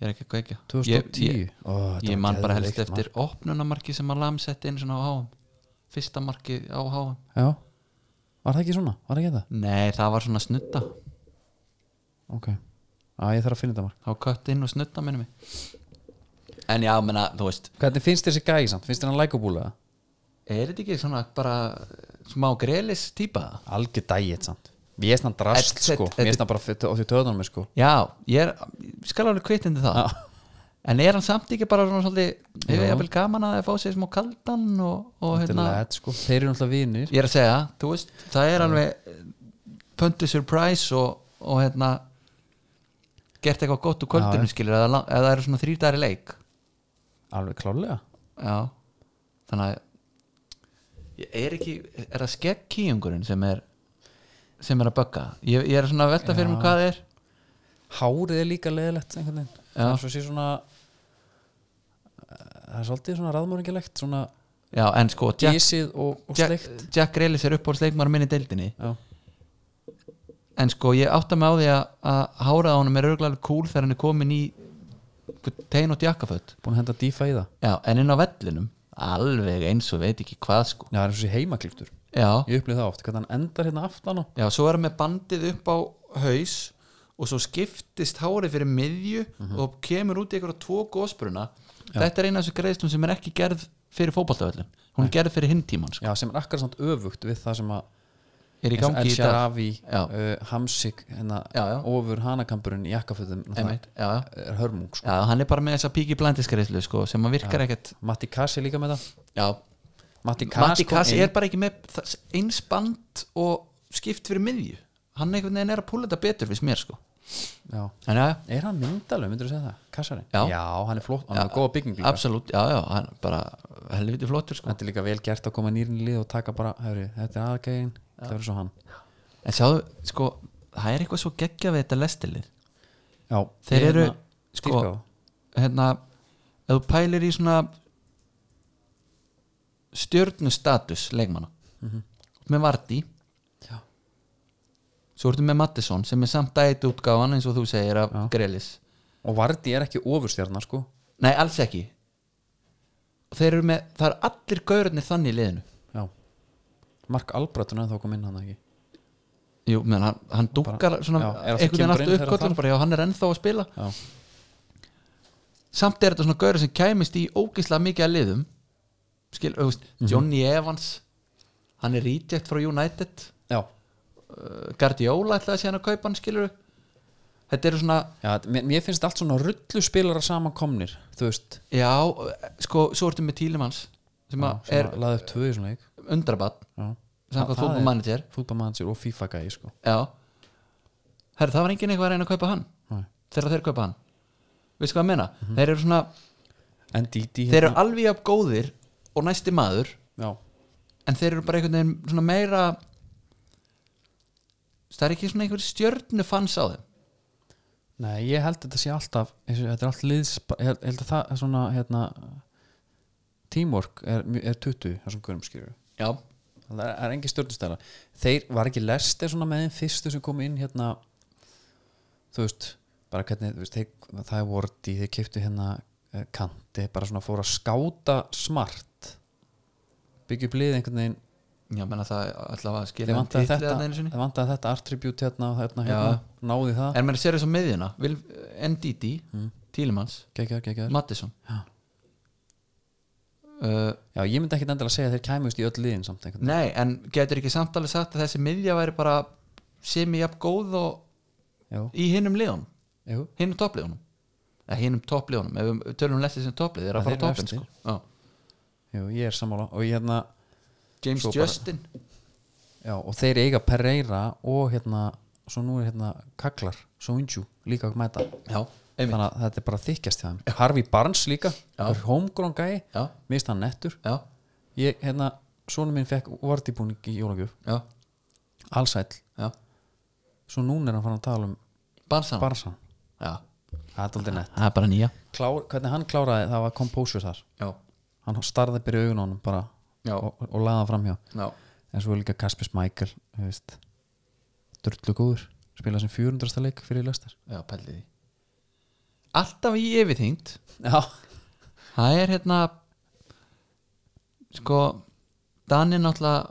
Speaker 2: Ég er ekki kveikja
Speaker 1: 2010
Speaker 2: Ég, ég,
Speaker 1: Ó, þetta
Speaker 2: ég
Speaker 1: var
Speaker 2: man bara helst
Speaker 1: geðveikt,
Speaker 2: eftir opnunamarki sem að lamsetti einu svona á háum fyrsta marki á háum
Speaker 1: maður. Já, var það ekki svona, var það ekki það
Speaker 2: nei það var svona snutta
Speaker 1: Ok, að ég þarf að finna þetta mark
Speaker 2: þá kött inn og snutta minni mig en já menna þú veist
Speaker 1: Hvernig finnst þér þessi gæi samt, finnst þér hann lækubúlega?
Speaker 2: er þetta ekki svona bara smá grelis típa
Speaker 1: algjör dæið samt mér finnst hann drast
Speaker 2: Þetta-
Speaker 1: sko,
Speaker 2: þetta-
Speaker 1: mér finnst hann bara fyrir- á því töðunum mér sko
Speaker 2: já ég er ég skal alveg kvitindi það
Speaker 1: Já.
Speaker 2: en er hann samt ekki bara svona svolítið hefur
Speaker 1: Jú.
Speaker 2: ég vel gaman að fá sér smá kaldan og, og
Speaker 1: Þetta er
Speaker 2: hérna
Speaker 1: lett, sko. þeir eru náttúrulega vinir
Speaker 2: ég er að segja, þú veist, það er alveg pöntu surprise og, og hérna gert eitthvað gott úr kvöldinu skilur eða, lang- eða það eru svona þrýdæri leik
Speaker 1: alveg klálega
Speaker 2: já, þannig að ég er ekki er það skegg kýjungurinn sem er sem er að bögga ég, ég er svona að velta fyrir mér hvað það er
Speaker 1: hárið er líka leðilegt einhvern veginn
Speaker 2: Já.
Speaker 1: það er svo sé svona eh, það er svolítið svona raðmörningilegt svona
Speaker 2: já, en sko, Jack,
Speaker 1: dísið og, og
Speaker 2: Jack,
Speaker 1: sleikt
Speaker 2: Jack Grealis er upp á sleikmar minni deildinni
Speaker 1: já,
Speaker 2: en sko ég átta mig á því að, að hárað á honum er örglega cool þegar hann er komin í tegin og jakkaföld
Speaker 1: búin að henda dífa í það
Speaker 2: Já, en inn á vellinum alveg eins og veit ekki hvað sko
Speaker 1: já, það er svo sé heimakliftur,
Speaker 2: Já,
Speaker 1: ég upplýði það oft hvernig hann endar hérna aftan á
Speaker 2: já svo er hann með bandið upp á haus og svo skiptist hárið fyrir miðju og kemur út í einhverja tvo gósbruna Þetta er eina af þessu greiðslum sem er ekki gerð fyrir fótboltavöllin Hún er gerð fyrir hinn tíman sko
Speaker 1: já, sem er akkar samt öfugt við það sem að
Speaker 2: Er í
Speaker 1: eins og
Speaker 2: gangi
Speaker 1: El
Speaker 2: í dag
Speaker 1: Sharavi,
Speaker 2: Já.
Speaker 1: uh, Hamsik hérna,
Speaker 2: Já, já.
Speaker 1: ofur hanakamburinn í jakkafutum
Speaker 2: Einmitt, já,
Speaker 1: er hörmung sko.
Speaker 2: já, hann er bara með þessa píki blændisgreiðslu sko sem að virkar ekkert
Speaker 1: Matti Kassi líka með það
Speaker 2: Já,
Speaker 1: Matti Kass,
Speaker 2: Matti
Speaker 1: kom
Speaker 2: Kassi
Speaker 1: inn.
Speaker 2: er bara ekki með það- eins band og skipt fyrir miðju Hann einhvern veginn er að púla þetta betur við mér sko
Speaker 1: já.
Speaker 2: En já, já
Speaker 1: Er hann myndalög, myndur þú segja það? Kassari?
Speaker 2: Já.
Speaker 1: hann er flott, hann er með góða bygging líka
Speaker 2: Absolutt, já, já, hann er bara helviti flottur sko
Speaker 1: Þetta er líka vel gert að koma nýrin í lið og taka bara, hefri, þetta er aðgæðin, það verður svo hann
Speaker 2: en sjáðu, sko, það er eitthvað svo geggja við þetta lestilir
Speaker 1: já,
Speaker 2: þeir
Speaker 1: ég
Speaker 2: eru,
Speaker 1: hérna
Speaker 2: sko,
Speaker 1: dýrka þá.
Speaker 2: hérna ef þú pælir í svona stjörnustatus leikmanna Mhm. með Vardí
Speaker 1: Já.
Speaker 2: svo ertu með Mattisson sem er samt dæti útgáfan eins og þú segir af
Speaker 1: Já.
Speaker 2: Grelis
Speaker 1: og Vardí er ekki ofurstjarnar sko
Speaker 2: nei, alls ekki og þeir eru með, það er allir gaurarnir þannig í liðinu
Speaker 1: já Mark Albratun en þá kom inn hann ekki
Speaker 2: Jú, menn, hann, hann dúkkar svona
Speaker 1: já, er alltaf
Speaker 2: einhvern
Speaker 1: kemur
Speaker 2: veginn
Speaker 1: inn
Speaker 2: aftur
Speaker 1: þegar
Speaker 2: uppkvöldum
Speaker 1: þarf.
Speaker 2: bara, já, hann er ennþá að spila
Speaker 1: já,
Speaker 2: samt er þetta svona gaurið sem kæmist í ógislega mikið að liðum Skil, þú veist,
Speaker 1: Mhm.
Speaker 2: Johnny Evans hann er reject frá United
Speaker 1: já,
Speaker 2: uh, Guardiola ætlaði að sé hann að kaupa hann skilur þetta eru svona,
Speaker 1: já þetta- mér, mér finnst allt svona rullu spilarar saman komnir þú veist,
Speaker 2: já, eh, sko svo ertu með Tílimans sem,
Speaker 1: já,
Speaker 2: að
Speaker 1: sem
Speaker 2: er
Speaker 1: að laði upp tvö í svona leik
Speaker 2: undrabatt
Speaker 1: já,
Speaker 2: samkvæmt
Speaker 1: Það- það er-
Speaker 2: fútbolmanager
Speaker 1: fútbolmannsir og FIFA gæði sko
Speaker 2: já, herri það var enginn eitthvað að reyna að kaupa hann
Speaker 1: Nei.
Speaker 2: þegar þeir kaupa hann veistu hvað að menna,
Speaker 1: Mhm.
Speaker 2: þeir eru svona
Speaker 1: en Didi hérna.
Speaker 2: þeir eru alveg jafn góðir og næsti maður
Speaker 1: já,
Speaker 2: en þeir eru bara einhvern veginn svona meira það er ekki svona einhver stjörnu fans á þeim
Speaker 1: nei, ég held að þetta sé alltaf eins og þetta er allt liðs ég held, ég held að það er svona hérna teamwork er, mjö- er 20 þessum gurum skilur
Speaker 2: já,
Speaker 1: það er, er engin stjórnustæla þeir var ekki lestir svona með þeim fyrstu sem kom inn hérna þú veist, bara hvernig þú veist, þeir, það er vorti, þeir kiptu hérna eh, kanti, bara svona fóru að skáta smart byggja upp lið einhvern veginn
Speaker 2: já menna það allavega
Speaker 1: þeir
Speaker 2: skilja
Speaker 1: vantaði þetta,
Speaker 2: en
Speaker 1: þeir vantaði þetta attribút hérna og hérna,
Speaker 2: Já.
Speaker 1: hérna náði það
Speaker 2: menn sér þess á miðjuna Vil, NDD, mm. Tílemans
Speaker 1: geggjar, geggjar
Speaker 2: Mattisson
Speaker 1: Já.
Speaker 2: uh,
Speaker 1: Já, ég myndi ekkit endilega segja að þeir kæmust í öll liðin samt einhvern
Speaker 2: nei, en getur ekki samt alveg sagt að þessi miðja væri bara sem ég jafn góð og
Speaker 1: veginn Jú,
Speaker 2: í hinnum liðum
Speaker 1: jú,
Speaker 2: hinnum toppliðunum eða hinnum toppliðunum, ef við tölum lestið sem topplið þeir eru að
Speaker 1: Já,
Speaker 2: fara
Speaker 1: þeir eru
Speaker 2: topplin
Speaker 1: efstir.
Speaker 2: sko. Já.
Speaker 1: jú, ég er sammála og ég hérna,
Speaker 2: James
Speaker 1: Svo bara-
Speaker 2: Justin
Speaker 1: já, og þeir eiga Pereira og hérna, svo nú er hérna Kaklar, Soinju, líka að mæta
Speaker 2: já, einmitt
Speaker 1: þannig að þetta er bara þykjast hjá þeim Harvey Barnes líka, það er homegrown gæi
Speaker 2: já,
Speaker 1: mist hann nettur
Speaker 2: já,
Speaker 1: ég, hérna, sonu minn fekk vartibúning í jólagjöf,
Speaker 2: já,
Speaker 1: allsæll
Speaker 2: já.
Speaker 1: svo núna er hann fann að tala um
Speaker 2: Barsan
Speaker 1: Barsan
Speaker 2: já.
Speaker 1: það er aldrei nett
Speaker 2: það er bara nýja
Speaker 1: Klár, hvernig hann kláraði, það var composure þar
Speaker 2: já,
Speaker 1: hann starði byrja augun á honum bara
Speaker 2: Já.
Speaker 1: og, og laða framhjá
Speaker 2: já,
Speaker 1: en svo er líka Kaspis Michael þú veist, drullu góður spila sem 400. leik fyrir lestar
Speaker 2: já pældi því alltaf í yfirþyngd
Speaker 1: já,
Speaker 2: það er hérna sko Dani náttúrulega uh,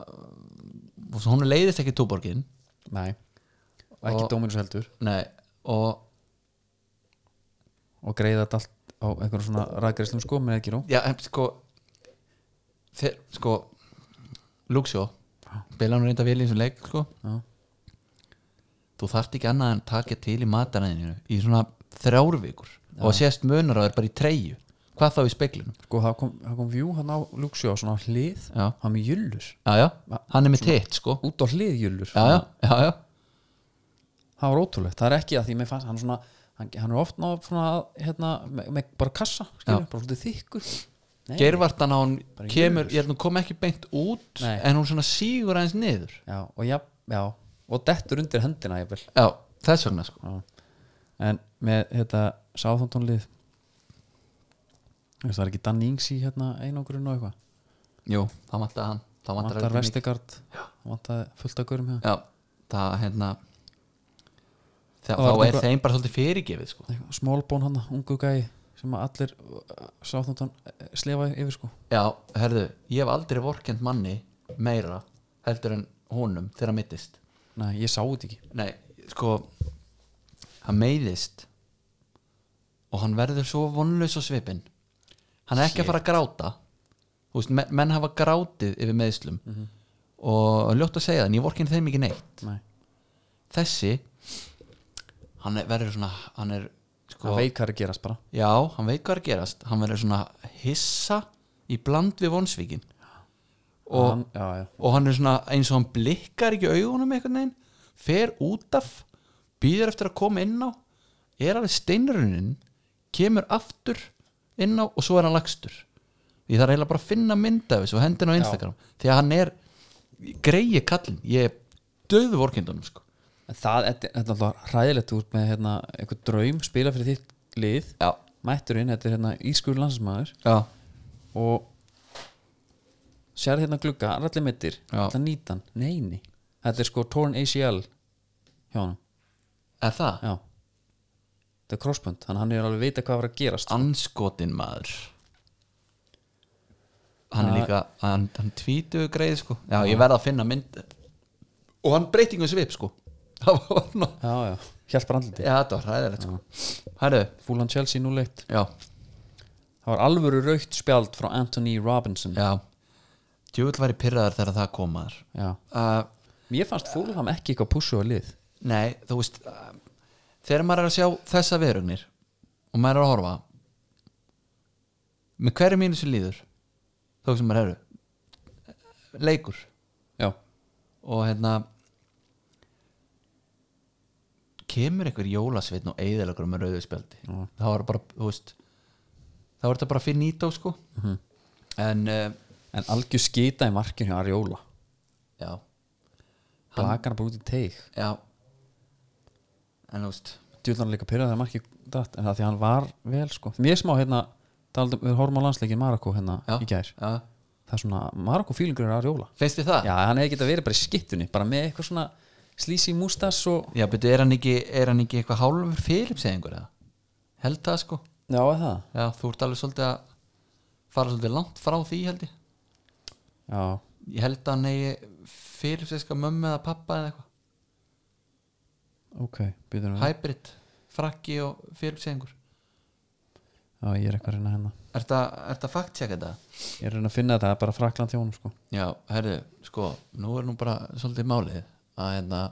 Speaker 2: og hún leiðist ekki túborgin
Speaker 1: nei og ekki
Speaker 2: Og-
Speaker 1: Dominus heldur
Speaker 2: nei, og
Speaker 1: og greiða þetta allt á einhverjum svona rækrislum sko með ekki nú
Speaker 2: já, en sko þeir, sko Luxjó, bila hann reynda vel í þessum leik sko,
Speaker 1: Já.
Speaker 2: þú þarft ekki annað en taka til í mataræðinu í svona þrjár vikur og sést munar á þér bara í treyju hvað þá í speglinu
Speaker 1: sko það kom, það kom vjú hann á Luxjó svona á hlið,
Speaker 2: já,
Speaker 1: hann með jullur
Speaker 2: já, já, hann er með tett sko
Speaker 1: út á hlið jullur
Speaker 2: já, já, já, já,
Speaker 1: það var ótrúlegt, það er ekki að því mér fannst hann svona, hann, hann er oft ná svona hérna, með, með bara kassa skilur, bara svolítið þykkur Nei,
Speaker 2: gervartan á hún
Speaker 1: Bara
Speaker 2: kemur,
Speaker 1: jörður.
Speaker 2: ég held hún kom ekki beint út
Speaker 1: Nei.
Speaker 2: en hún svona sígur aðeins niður
Speaker 1: já, og já, já, og dettur undir hendina ég vel,
Speaker 2: já, þess vegna sko
Speaker 1: en með hérna, þetta sáþóntónlið það er ekki Dan Ings í hérna einogrun og eitthvað,
Speaker 2: jú, þá vantar hann þá vantar
Speaker 1: vantar
Speaker 2: hann ekki
Speaker 1: vestigard vantar fullt að gurum hérna
Speaker 2: já, það hérna það,
Speaker 1: Það var
Speaker 2: þá er
Speaker 1: eitthvað-
Speaker 2: þeim bara svolítið fyrirgefið sko.
Speaker 1: smólbón hann, ungu gæi sem að allir sáþóntón slefa yfir sko
Speaker 2: já, herðu, ég hef aldrei vorkend manni meira heldur en honum þegar hann meittist
Speaker 1: Nei, ég sá þetta ekki
Speaker 2: nei, sko hann meiðist og hann verður svo vonlaus á svipin hann er ekki að fara að gráta Þú veist, men- menn hafa grátið yfir meðslum og ljótt að segja það en ég vorkend þeim ekki neitt
Speaker 1: Nei.
Speaker 2: þessi hann er, verður svona hann er sko
Speaker 1: Það veikar að gerast bara
Speaker 2: Já, hann veit hvað er að gerast Hann verður svona hissa í bland við vonsvíkin og,
Speaker 1: hann, já, já.
Speaker 2: og hann er svona eins og hann blikkar ekki augunum einhvern veginn fer út af býður eftir að koma inn á er alveg steinrunin kemur aftur inn á og svo er hann lagstur ég þarf eiginlega bara að finna mynda af þessu og hendina á Instagram því að hann er greiði kallin ég er döðu vorkindunum sko.
Speaker 1: En það, þetta þetta er alltaf hræðilegt út með hérna, eitthvað draum, spila fyrir þitt lið
Speaker 2: já.
Speaker 1: mætturinn, þetta er hérna ískur landsmaður
Speaker 2: já,
Speaker 1: og sér hérna glugga, hann er allir meittir
Speaker 2: Já.
Speaker 1: allir nýtan, neini þetta er sko torn ACL hjá hann,
Speaker 2: er það?
Speaker 1: já þetta er crossbund, þannig að hann er alveg vita hvað var að gerast
Speaker 2: anskotin maður hann er líka hann, hann tvítu greið sko já, ég verð að finna mynd og hann breytingum svip sko *laughs* það var ná
Speaker 1: já, já, hjálpar andliti
Speaker 2: já, þetta var hræðilegt sko hæðu,
Speaker 1: Fúlan Chelsea núleitt,
Speaker 2: já,
Speaker 1: það var alvöru raukt spjald frá Anthony Robinson
Speaker 2: já djúvill væri pyrraður þegar það kom maður
Speaker 1: já.
Speaker 2: uh,
Speaker 1: mér fannst Fúlan ekki eitthvað pussu á lið
Speaker 2: nei, þú veist uh, þegar maður er að sjá þessa verugnir og maður er að horfa með hverju mínu sem líður þó sem maður eru leikur
Speaker 1: já,
Speaker 2: og hérna kemur einhver jólasveitn og eiðilegur með rauðu spjaldi
Speaker 1: Já.
Speaker 2: þá var bara, þú veist þá var þetta bara fyrir nýtó sko
Speaker 1: Mhm.
Speaker 2: en uh,
Speaker 1: en algjör skita í markinu hjá Arjóla
Speaker 2: já,
Speaker 1: blakar hann bara út í teig
Speaker 2: já en þú veist
Speaker 1: djúðan líka pyrraði að marki datt en það því að hann var vel sko mér smá hérna, taldi, við horfum á landsleikin Marokko hérna
Speaker 2: já,
Speaker 1: í gær
Speaker 2: já.
Speaker 1: það er svona, Marokko fílingur er að rjóla
Speaker 2: finnst þið það?
Speaker 1: já, hann hefði getað verið bara í skittunni bara með eitthvað svona slísi mústass og
Speaker 2: já betur, er hann ekki, er hann ekki eitthvað hálfur fyrir segja einhver eða? held það sko
Speaker 1: já, er það
Speaker 2: já, þú ert alveg svolítið að fara svolítið langt frá því held ég
Speaker 1: já,
Speaker 2: ég held að hann eigi fyrir segja mömmu eða pappa eða eitthvað
Speaker 1: ok, býður við
Speaker 2: hybrid, frakki og fyrirsegingur
Speaker 1: já, ég er eitthvað að reyna hérna
Speaker 2: Er þetta fakt tjekka þetta?
Speaker 1: ég er að reyna að finna þetta, það er bara frakland þjónum sko
Speaker 2: Já, herðu, sko, nú er nú bara svolítið málið að hérna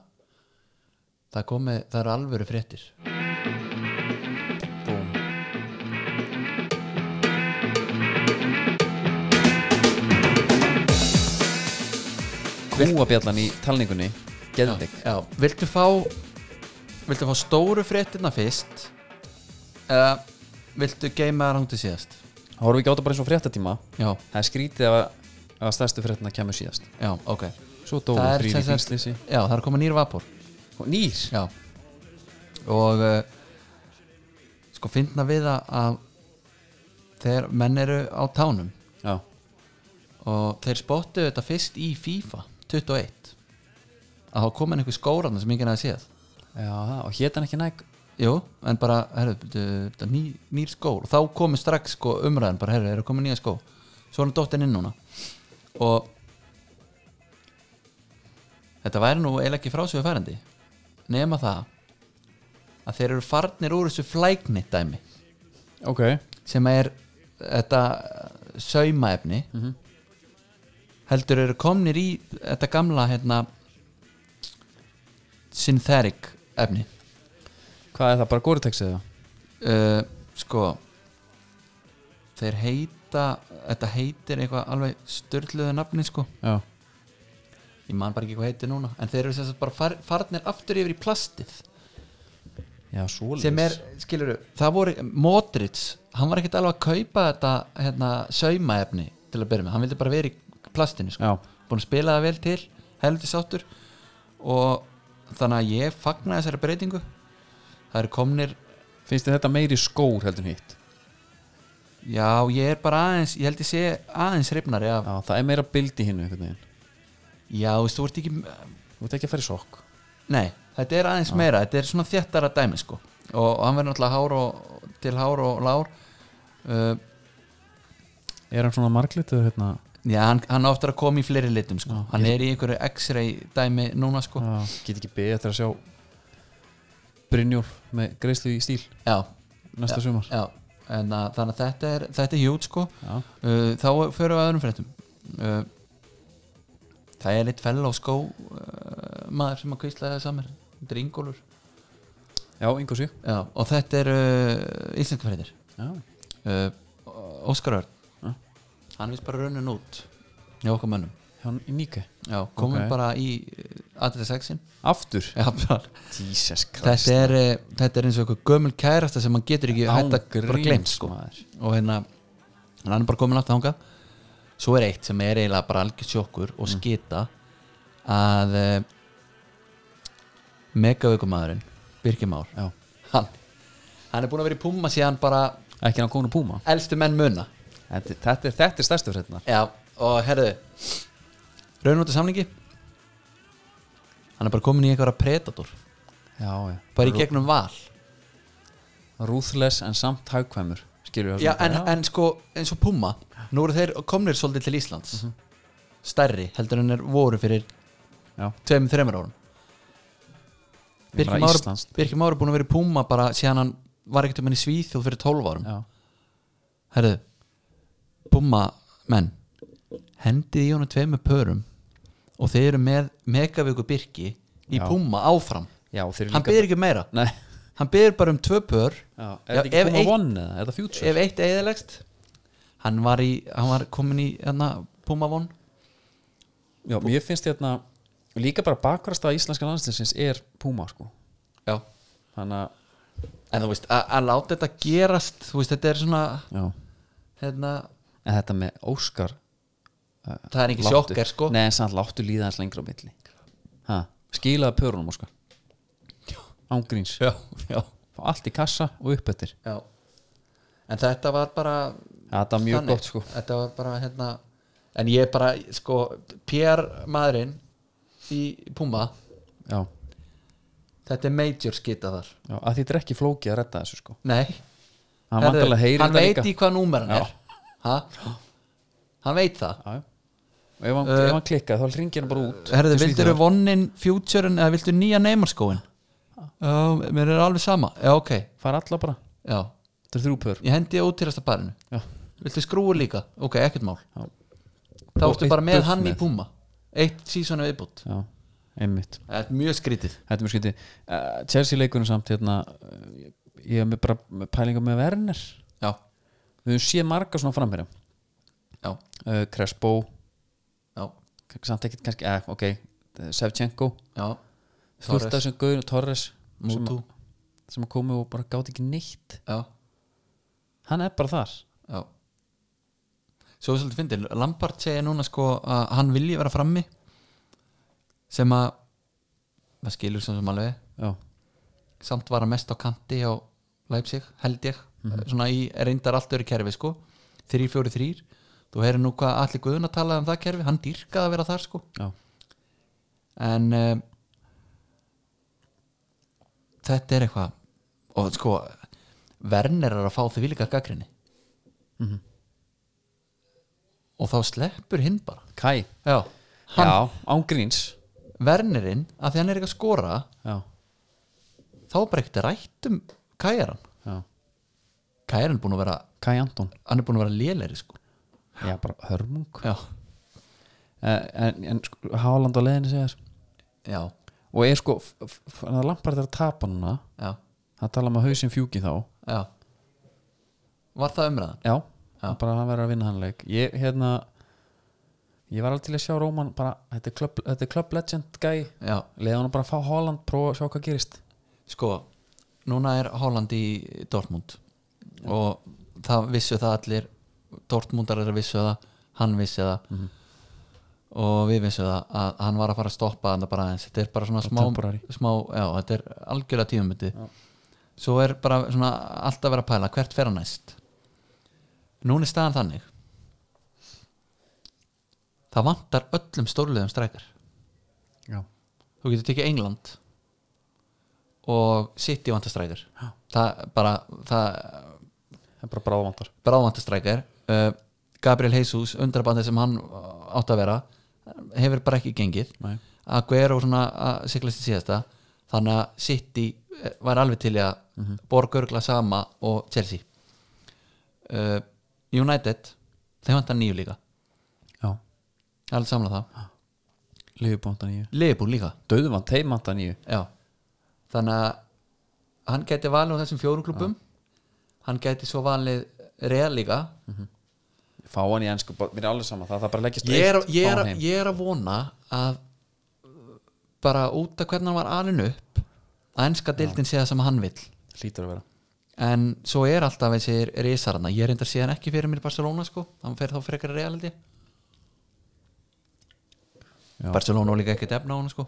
Speaker 2: það komi, það eru alvöru fréttir
Speaker 1: Búm. Kúabjallan í talningunni Geðvik
Speaker 2: Já, viltu fá viltu fá stóru fréttina fyrst eða viltu geima það rangt til síðast?
Speaker 1: Hóru ekki á þetta bara eins og fréttatíma
Speaker 2: Já,
Speaker 1: Það er skrítið að, að stærstu fréttina kemur síðast
Speaker 2: já, ok
Speaker 1: Svo dóu
Speaker 2: Það er
Speaker 1: þrýri
Speaker 2: sem sagt-
Speaker 1: fílslýsi
Speaker 2: Já, það er að koma nýr vapor
Speaker 1: Nýr
Speaker 2: Já Og uh, sko fyndna við að- að þegar menn eru á tánum
Speaker 1: Já,
Speaker 2: og þeir spottu þetta fyrst í FIFA 21 að þá komin einhver skóraðna sem enginn að séð
Speaker 1: já það- og hét hann ekki næg
Speaker 2: Jú, en bara, herru, byrju, þetta er ný, nýr skór þá komi strax sko umræðan bara, herru, eru komin nýja skó svo er hann dóttin inn núna og þetta væri nú eiginlega ekki frásöðu færandi nema það að þeir eru farnir úr þessu flæknit dæmi
Speaker 1: Ok
Speaker 2: sem er þetta uh, saumaefni heldur eru komnir í þetta gamla hérna synthetic efni
Speaker 1: Hvað er það, bara góritekst eða?
Speaker 2: uh, sko þeir heita þetta heitir eitthvað alveg störluðu nafni sko
Speaker 1: Já
Speaker 2: ég man bara ekki hvað heitir núna en þeir eru sem sagt bara far, farnir aftur yfir í plastið
Speaker 1: Já, svoleiðis
Speaker 2: sem er, skilur það voru, Modric, hann var ekkert alveg að kaupa þetta hérna, saumaefni til að byrja með, hann vildi bara vera í plastinu sko.
Speaker 1: Já,
Speaker 2: búin að spila það vel til heldur sáttur og þannig að ég fagna þessari breytingu það eru komnir
Speaker 1: finnst þið þetta meiri skór heldur en hitt?
Speaker 2: já, ég er bara aðeins, ég held ég sé aðeins hrifnari af,
Speaker 1: Já, það er meira bild í hinnu einhvern veginn
Speaker 2: já, veist, þú ert ekki
Speaker 1: Þú ert ekki að fara í sokk
Speaker 2: nei, þetta er aðeins meira, þetta er svona þjættara dæmi sko, og, og hann verður náttúrulega hár og, til hár og lár uh,
Speaker 1: Er hann svona marglitur hérna?
Speaker 2: Já, hann, hann á eftir að koma í fleiri litum sko. hann er í einhverju x-ray dæmi núna sko.
Speaker 1: Já, get ekki betur að sjá Brynjólf með greiðslu í stíl
Speaker 2: já,
Speaker 1: næsta
Speaker 2: Já.
Speaker 1: sumar
Speaker 2: já. En, að, þannig að þetta er, þetta er hjút sko.
Speaker 1: Já,
Speaker 2: uh, þá förum við að öðrum fréttum uh, það er eitt fellow skó uh, maður sem að kvísla það saman þetta er Ingólfur
Speaker 1: já yngur sig
Speaker 2: já, og þetta er uh, íslenska fréttir
Speaker 1: Já,
Speaker 2: uh, Óskar Örn
Speaker 1: Já.
Speaker 2: hann vist bara raunin út hjá okkar mönnum
Speaker 1: hann í nýke
Speaker 2: já, komum
Speaker 1: Ok.
Speaker 2: bara í uh, adressexin
Speaker 1: Aftur
Speaker 2: já, bara
Speaker 1: Jesus
Speaker 2: þetta er, eh, þetta er eins og einhver gömul kærasta sem hann getur ekki hætt að bara glemt sko.
Speaker 1: maður.
Speaker 2: og hérna hann er bara komin aftur þangað svo er eitt sem er eiginlega bara algjör sjokkur og skita að eh, megavökumadurinn Birgir Már
Speaker 1: Já.
Speaker 2: hann, hann er búin að vera í Puma síðan bara
Speaker 1: ekki hann konu púma
Speaker 2: elstu menn muna
Speaker 1: þetta, þetta, er, þetta er stærstu fréttina
Speaker 2: Já, og herðu raunvöldu samlingi hann er bara komin í einhverja predator
Speaker 1: já, já.
Speaker 2: bara í gegnum val
Speaker 1: ruthless en samt hagkvæmur skilur
Speaker 2: Já, en, en sko, eins og Puma nú eru þeir komnir svolítið til Íslands
Speaker 1: Mhm.
Speaker 2: stærri heldur en er voru fyrir
Speaker 1: já,
Speaker 2: tveim, þreimur árum
Speaker 1: Ég bara
Speaker 2: Birkir Már,
Speaker 1: Íslands.
Speaker 2: Birkir Már er búin að vera í Puma bara síðan hann var ekkert um henni Svíþjóð fyrir 12 árum
Speaker 1: já,
Speaker 2: Herðu, Puma menn hendið í honum tveimur pörum og þeir eru með megavíku Birki í
Speaker 1: Já.
Speaker 2: Puma áfram
Speaker 1: já þeir eru
Speaker 2: hann
Speaker 1: líka
Speaker 2: byr ekki um meira,
Speaker 1: Nei,
Speaker 2: hann byr bara um tvö pör
Speaker 1: já, er
Speaker 2: Já,
Speaker 1: þetta ekki
Speaker 2: ef
Speaker 1: Puma
Speaker 2: eitt-
Speaker 1: One eða, er þetta Future?
Speaker 2: ef eitt eðalegst hann var í, hann var komin í hérna, Puma von
Speaker 1: já, mér finnst hérna líka bara bakvarasta íslenska landstinsins er Puma sko
Speaker 2: Já.
Speaker 1: þannig að,
Speaker 2: en þú veist, að að láta þetta gerast þú veist, þetta er svona
Speaker 1: já,
Speaker 2: hérna,
Speaker 1: en þetta með Óskar uh,
Speaker 2: það er ekki
Speaker 1: láttu-
Speaker 2: sjokker sko
Speaker 1: Nei, en samt láttu líða hans lengra á milli ha, Skilaðu pörunum Óskar Ángríns
Speaker 2: já, já.
Speaker 1: Fá Allt í kassa og upp eftir
Speaker 2: já en þetta var bara
Speaker 1: Þetta var mjög
Speaker 2: þannig.
Speaker 1: gott, sko.
Speaker 2: þetta var bara hérna en ég bara sko PR maðurinn í Puma
Speaker 1: Já,
Speaker 2: þetta er major skita þar
Speaker 1: já að því þetta er ekki flókið að redda þessu sko
Speaker 2: nei
Speaker 1: Hann
Speaker 2: Herðu,
Speaker 1: vantarlega heyrir
Speaker 2: hann
Speaker 1: þetta
Speaker 2: veit
Speaker 1: líka
Speaker 2: í hvað númer hann
Speaker 1: Já.
Speaker 2: er ha? hann veit það
Speaker 1: Já, já Og ef hann,
Speaker 2: Uh,
Speaker 1: ef hann klikkað þá ringir hann bara út
Speaker 2: herðu
Speaker 1: Til
Speaker 2: vildur þú
Speaker 1: Svíþjóðar.
Speaker 2: vonnin futurein eða vildur nýja neymarskóin já mér er alveg sama já ok
Speaker 1: Fara alla bara
Speaker 2: já
Speaker 1: Þetta er þrjú pör
Speaker 2: ég hendi ótýrasta barinu
Speaker 1: Já,
Speaker 2: viltu skrúa líka ok ekkert mál
Speaker 1: Já.
Speaker 2: þá
Speaker 1: Og
Speaker 2: ertu
Speaker 1: eitt
Speaker 2: bara með
Speaker 1: buff
Speaker 2: hann í
Speaker 1: með.
Speaker 2: Puma eitt sísonu viðbútt
Speaker 1: já, einmitt
Speaker 2: þetta er mjög skrítið
Speaker 1: Þetta er mjög skytið uh, Chelsea leikunum samt hérna eh, Ég er með bara með pælingar með Werner
Speaker 2: já
Speaker 1: Við höfum séð marga svona framherja
Speaker 2: já
Speaker 1: uh, Crespo,
Speaker 2: já
Speaker 1: samt ekkert kannski eh, ok, Sevchenko
Speaker 2: já
Speaker 1: fullt af
Speaker 2: Torres.
Speaker 1: þessum gauðinu Torres sem,
Speaker 2: Mútu
Speaker 1: sem komu og bara gáti ekki neitt
Speaker 2: já
Speaker 1: hann er bara þar
Speaker 2: já svo er svolítið fyndin Lampard segir núna sko að hann vilji vera frammi sem að maður skilur svo sem alveg
Speaker 1: já,
Speaker 2: samt var hann mest á kanti á Leipzig held ég
Speaker 1: Mhm.
Speaker 2: svona í reyndar allt öru kerfi sko 3-4-3 þú heyrir nú hvað allir guðun að tala um það kerfi hann dýrkaði að vera þar sko
Speaker 1: já,
Speaker 2: en um, þetta er eitthvað og sko Werner er að fá því vilja gaggrinni
Speaker 1: Mhm.
Speaker 2: og þá sleppur hinn bara
Speaker 1: Kai
Speaker 2: já, hann,
Speaker 1: já, ángríns
Speaker 2: Wernerinn að því hann er ekki að skora
Speaker 1: já,
Speaker 2: þá er bara ekkert rætt um Kajaran
Speaker 1: já,
Speaker 2: Kajaran er búin að vera
Speaker 1: Kai Anton
Speaker 2: hann er búin að vera léleiri sko
Speaker 1: já, bara hörmung
Speaker 2: já,
Speaker 1: uh, en, en sko, Haaland á leiðinu segir
Speaker 2: já,
Speaker 1: og er sko, f- f- f- hann er lampar þetta að tapa núna
Speaker 2: já,
Speaker 1: það tala um að hausinn fjúki þá
Speaker 2: já. var það umræðan
Speaker 1: já,
Speaker 2: Já.
Speaker 1: bara hann verður að vinna hann leik ég, hérna ég var alveg til að sjá Róman bara, þetta er club, þetta er club legend gæi
Speaker 2: já,
Speaker 1: leiði hann bara að fá Holland prófa að sjá hvað gerist
Speaker 2: sko núna er Holland í Dortmund og það vissu það allir Dortmundar er að vissu það hann vissi það og við vissu það að hann var að fara að stoppa þetta bara aðeins, þetta er bara svona smá,
Speaker 1: temporary.
Speaker 2: smá já, þetta er algjörlega tíðumundi svo er bara svona allt að vera að pæla hvert fer hann næst núna er staðan þannig það vantar öllum stórliðum strækar
Speaker 1: já,
Speaker 2: þú getur tekið England og City vantastrækir
Speaker 1: Já.
Speaker 2: það bara það
Speaker 1: það er bara bráðvandar
Speaker 2: bráðvantastrækir uh, Gabriel Jesus, undrabandi sem hann uh, átti að vera hefur bara ekki gengið
Speaker 1: Nei.
Speaker 2: Aguero svona að siglast í síðasta þannig að City eh, var alveg til í að mm -hmm. borga örgla sama og Chelsea uh, United þeim vantar nýju líka,
Speaker 1: já,
Speaker 2: ég er alveg samla það
Speaker 1: liðbónda nýju
Speaker 2: Leifbúl líka
Speaker 1: döðvand, teimanda nýju
Speaker 2: Já. þannig að hann gæti valið á þessum fjórum klubum hann gæti svo valið real líka
Speaker 1: fá hann í ennsku, mér er alveg sama það, það bara leggist
Speaker 2: ég er,
Speaker 1: eitt,
Speaker 2: ég,
Speaker 1: fá
Speaker 2: er,
Speaker 1: hann heim.
Speaker 2: ég er að vona að uh, bara út af hvernig hann var alin upp að enska deildin sé það sem hann vill
Speaker 1: hlýtur að vera
Speaker 2: en svo er alltaf þessi risarana ég er reyndar síðan ekki fyrir mér í Barcelona sko hann fer þá frekar í real held ég
Speaker 1: Já.
Speaker 2: Barcelona á líka ekkert efna á hann sko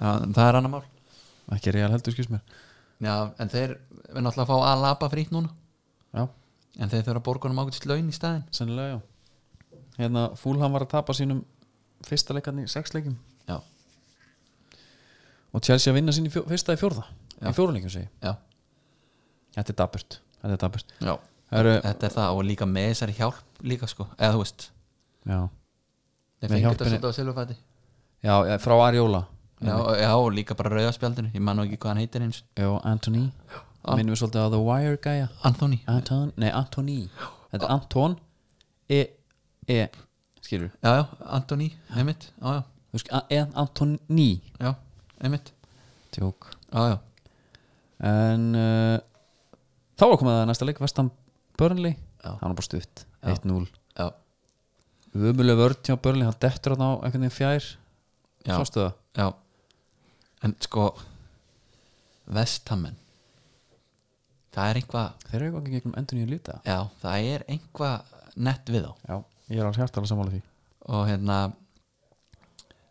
Speaker 2: það það er annar mál
Speaker 1: ekki real heldur skils mér
Speaker 2: já, en þeir við náttúrulega að fá að lapa frýtt núna
Speaker 1: já,
Speaker 2: en þeir þurfa að borga honum ágætis laun í staðin
Speaker 1: sennilega já hérna Fúlham var að tapa sínum fyrsta leikarni í sex leikum
Speaker 2: já,
Speaker 1: og Chelsea að vinna sín í fjó, fyrsta í fjórða í fjóruleikum segi, ég.
Speaker 2: já,
Speaker 1: þetta er daburt þetta er daburt
Speaker 2: já
Speaker 1: Heru,
Speaker 2: þetta er það og líka með þessari hjálp líka sko, eða þú veist
Speaker 1: já,
Speaker 2: þeir
Speaker 1: Með
Speaker 2: fengur þetta
Speaker 1: hjálpinni-
Speaker 2: svolítið á silfurfæti
Speaker 1: já, já, frá Ariola
Speaker 2: já, og- já, og líka bara rauðaspjaldinu ég man nú ekki hvað hann heitir eins
Speaker 1: já, Anthony minnum við svolítið á The Wire gæja
Speaker 2: Anthony
Speaker 1: Anton, nei Antoni þetta er Anton E, e, skilur
Speaker 2: já, já, Anthony, einmitt já, já,
Speaker 1: þú skil, E, Antoni
Speaker 2: já, einmitt
Speaker 1: tjók
Speaker 2: já, já,
Speaker 1: en uh, þá var komið að næsta leik Vestam Burnley
Speaker 2: Já.
Speaker 1: það var bara stutt,
Speaker 2: Já.
Speaker 1: 1-0
Speaker 2: já,
Speaker 1: umuleg vörð hjá Burnley, hann dettur hann á einhvern veginn fjær
Speaker 2: já.
Speaker 1: sástu það
Speaker 2: Já En sko Vestamenn Það er einhvað
Speaker 1: þeir eru eitthvað ekki gegnum endur nýju lítið
Speaker 2: Já, það er einhvað nett við þá
Speaker 1: já, ég er alveg hjartalega sammála því
Speaker 2: Og hérna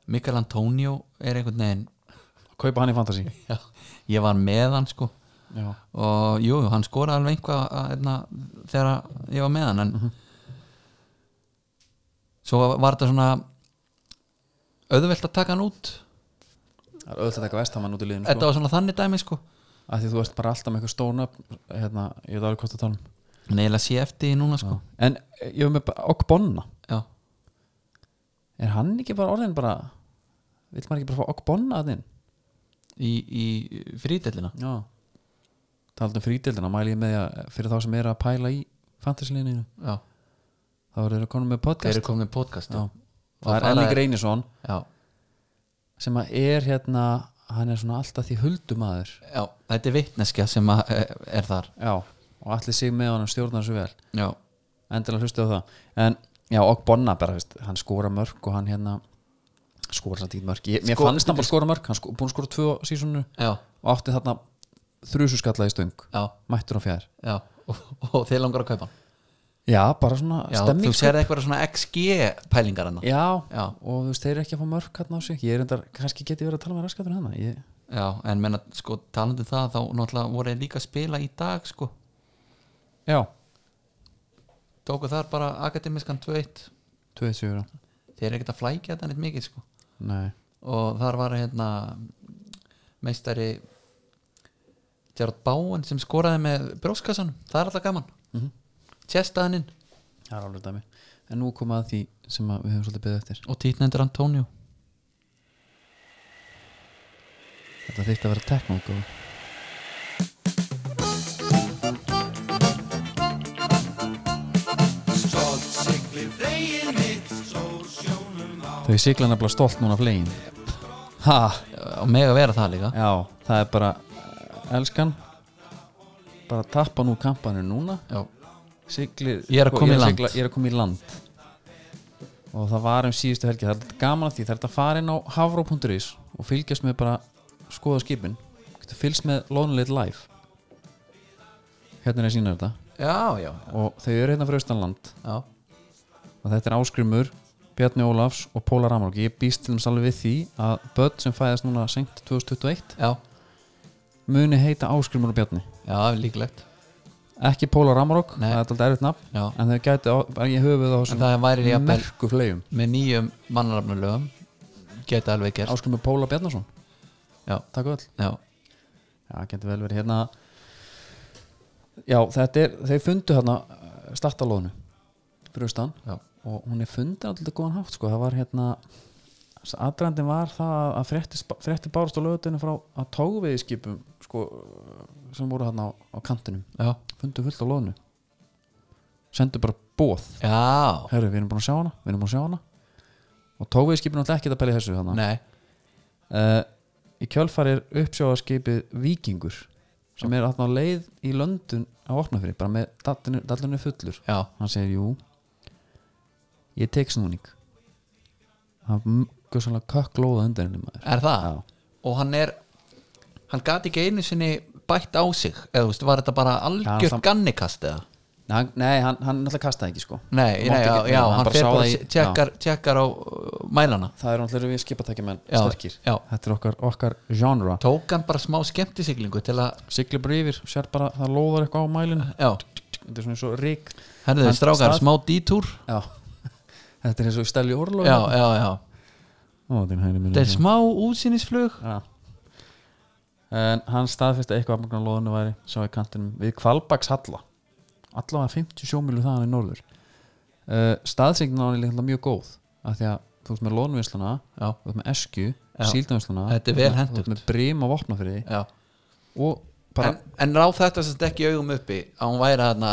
Speaker 2: Mikael Antonio er einhvern veginn
Speaker 1: kaupa hann í fantasy
Speaker 2: já, Ég var með hann sko
Speaker 1: já,
Speaker 2: Og jú, jú, hann skoraði alveg einhvað að, hérna, Þegar ég var með hann En
Speaker 1: Mhm.
Speaker 2: Svo var þetta svona Auðvelt að taka hann út
Speaker 1: það er auðvitað eitthvað Vestamann út í liðinu
Speaker 2: Þetta
Speaker 1: sko,
Speaker 2: var svona þannig dæmi sko
Speaker 1: að því þú ert bara alltaf með eitthvað stóna hérna, ég veit alveg hvað það tala um
Speaker 2: Neila sé eftir því núna sko
Speaker 1: Já. en eh, ég hef með bara Ogbonna
Speaker 2: Já.
Speaker 1: er hann ekki bara orðin bara vill maður ekki bara fá Ogbonna að þinn
Speaker 2: í, í frítillina
Speaker 1: já talað um frídeldina, mæli ég með því að fyrir þá sem eru að pæla í fantasiliðinu
Speaker 2: já.
Speaker 1: þá eru þeir að konu með
Speaker 2: þeir
Speaker 1: podcast
Speaker 2: eru komin í podcast
Speaker 1: já.
Speaker 2: já.
Speaker 1: það
Speaker 2: Og
Speaker 1: er
Speaker 2: fara-
Speaker 1: Elling Reynisson
Speaker 2: Já.
Speaker 1: sem að er hérna hann er svona alltaf því huldumadur
Speaker 2: já, þetta er vitneskja sem að, eh, er þar
Speaker 1: já, og allir sig með honum stjórnar svo vel
Speaker 2: já,
Speaker 1: endilega hlustu á það en já, og Bonna bara, veist, hann skora mörg og hann hérna skora samt ekki mörg, ég, mér
Speaker 2: Sko-
Speaker 1: fannst hann bara skora mörg hann sko, búin að skora tvö sísonu
Speaker 2: já,
Speaker 1: og átti þarna þrjususkalla í stöng
Speaker 2: já,
Speaker 1: mættur á fjær
Speaker 2: já. Og, og þeir langar að kaupa hann
Speaker 1: já, bara svona
Speaker 2: já,
Speaker 1: stemming
Speaker 2: þú serði eitthvað svona XG pælingar hann
Speaker 1: sko.
Speaker 2: já,
Speaker 1: já,
Speaker 2: Já.
Speaker 1: og þú veist, þeir eru ekki að fá mörg hérna á sig ég er endar, kannski geti verið að tala með raskatur hana ég,
Speaker 2: en menna sko talandi um það þá náttúrulega voru þeir líka að spila í dag sko,
Speaker 1: já,
Speaker 2: tóku þar bara akademiskan 2-1
Speaker 1: tvöðið sigur á.
Speaker 2: þeir eru ekkert að flækja þetta neitt mikið sko
Speaker 1: nei,
Speaker 2: og þar var hérna meistari Gerard Báin sem skoraði með brjóskassanum, það er alltaf gaman mm -hmm. tjestaðaninn
Speaker 1: það er alveg dæmi en nú koma að því sem að við höfum svolítið beðið eftir
Speaker 2: og títnendur Antonio
Speaker 1: þetta þýtti að vera sko. teknók og þau sigla nefnilega stolt núna af legin ha,
Speaker 2: og mega vera það líka
Speaker 1: já, það er bara eh, elskan bara tappa nú kampanir núna
Speaker 2: já,
Speaker 1: siglir,
Speaker 2: Ég er að
Speaker 1: sko,
Speaker 2: koma í land.
Speaker 1: sigla- ég er að koma í land og það var um síðustu helgi það er dálítið gaman að því, það er þetta að fara inn á hafró.is og fylgjast með bara skoða skipin, getur fylgst með Lonely Life hérna er að sína þetta
Speaker 2: já, já,
Speaker 1: og þau eru hérna fyrir austanland
Speaker 2: já.
Speaker 1: og þetta er Áskrimur, Bjarni Ólafs og Póla Ramar og ég býst til þess alveg við því að börn sem fæðast núna senkt 2021
Speaker 2: já,
Speaker 1: muni heita Áskrimur og Bjarni
Speaker 2: já líklegt
Speaker 1: ekki Póla Ramarok,
Speaker 2: Nei.
Speaker 1: það er alltaf erfitt nafn
Speaker 2: já.
Speaker 1: en þau gæti, á- bara ég höfuð á
Speaker 2: en
Speaker 1: þessum
Speaker 2: það væri ég með,
Speaker 1: merku flegjum
Speaker 2: með nýjum mannarafnulegum geta alveg gerst
Speaker 1: Áskur með Póla Bjarnason
Speaker 2: Já.
Speaker 1: Takk öll
Speaker 2: já,
Speaker 1: Já, getur vel verið hérna Já, þetta er, þeir fundu hérna startalónu Brustan
Speaker 2: já,
Speaker 1: og hún er fundið alltaf góðan hátt sko, það var hérna aðdrandin var það að frétti, frétti bárst á lögutunum frá að tógveiðskipum sko, sem voru hérna á, á kantinum
Speaker 2: já,
Speaker 1: fundu fullt á lónu sendu bara bóð
Speaker 2: já.
Speaker 1: herru, við erum búin að sjá hana, við erum búin að sjá hana og tógveiðskipin alltaf ekki að pæla í þessu hérna
Speaker 2: nei,
Speaker 1: uh, í kjölfar er uppsjáðarskipið Víkingur sem er aðna á leið í London á opnafyrir, bara með dallinu, dallinu fullur
Speaker 2: já,
Speaker 1: hann segir, jú ég tek snúning hann mjög sannlega kökklóða undir henni maður
Speaker 2: er það
Speaker 1: Já.
Speaker 2: og hann er hann gati ekki einu sinni bætt á sig eða þú veist, var þetta bara
Speaker 1: Já,
Speaker 2: algjört
Speaker 1: það-
Speaker 2: gannikast eða
Speaker 1: Nei, hann, nei, hann, hann náttúrulega kastaði ekki sko
Speaker 2: Nei,
Speaker 1: Mátti
Speaker 2: nei já,
Speaker 1: ekki-
Speaker 2: já,
Speaker 1: hann
Speaker 2: hann
Speaker 1: bara
Speaker 2: fer
Speaker 1: sá
Speaker 2: bara
Speaker 1: það í-
Speaker 2: að tjekkar, tjekkar á uh, mælana
Speaker 1: Það er náttúrulega við skipatækjumenn
Speaker 2: Já,
Speaker 1: sterkir
Speaker 2: já.
Speaker 1: Þetta er okkar, okkar genre
Speaker 2: Tók hann bara smá skemmtisiglingu til að
Speaker 1: Sigli bara yfir, sér bara, það lóðar eitthvað á mælinu
Speaker 2: Já,
Speaker 1: Þetta er svona eins og rík
Speaker 2: herðu,
Speaker 1: Hann
Speaker 2: strákar,
Speaker 1: stað-
Speaker 2: smá dítúr
Speaker 1: Já, *laughs* þetta er eins og stæli orlóð
Speaker 2: Já, já, já
Speaker 1: Ó, þín hægri minni
Speaker 2: Þetta er smá útsýnisflug
Speaker 1: Já En hann staðfesti að eitthvað afmagnan lóðinu væri sá í kantinum við Kvalbaks Halla allavega 50 sjómilu þaðan í norður uh, staðsengnin á hann er líka mjög góð af því að þú ert með lóðunvinsluna
Speaker 2: Já,
Speaker 1: þú ert með esku,
Speaker 2: Já.
Speaker 1: síldavinsluna
Speaker 2: Þetta er vel
Speaker 1: þú ert
Speaker 2: hentugt.
Speaker 1: með brim og vopna fyrir
Speaker 2: já
Speaker 1: og bara,
Speaker 2: En, en ráð þetta sem stekki augum uppi að hún væri þarna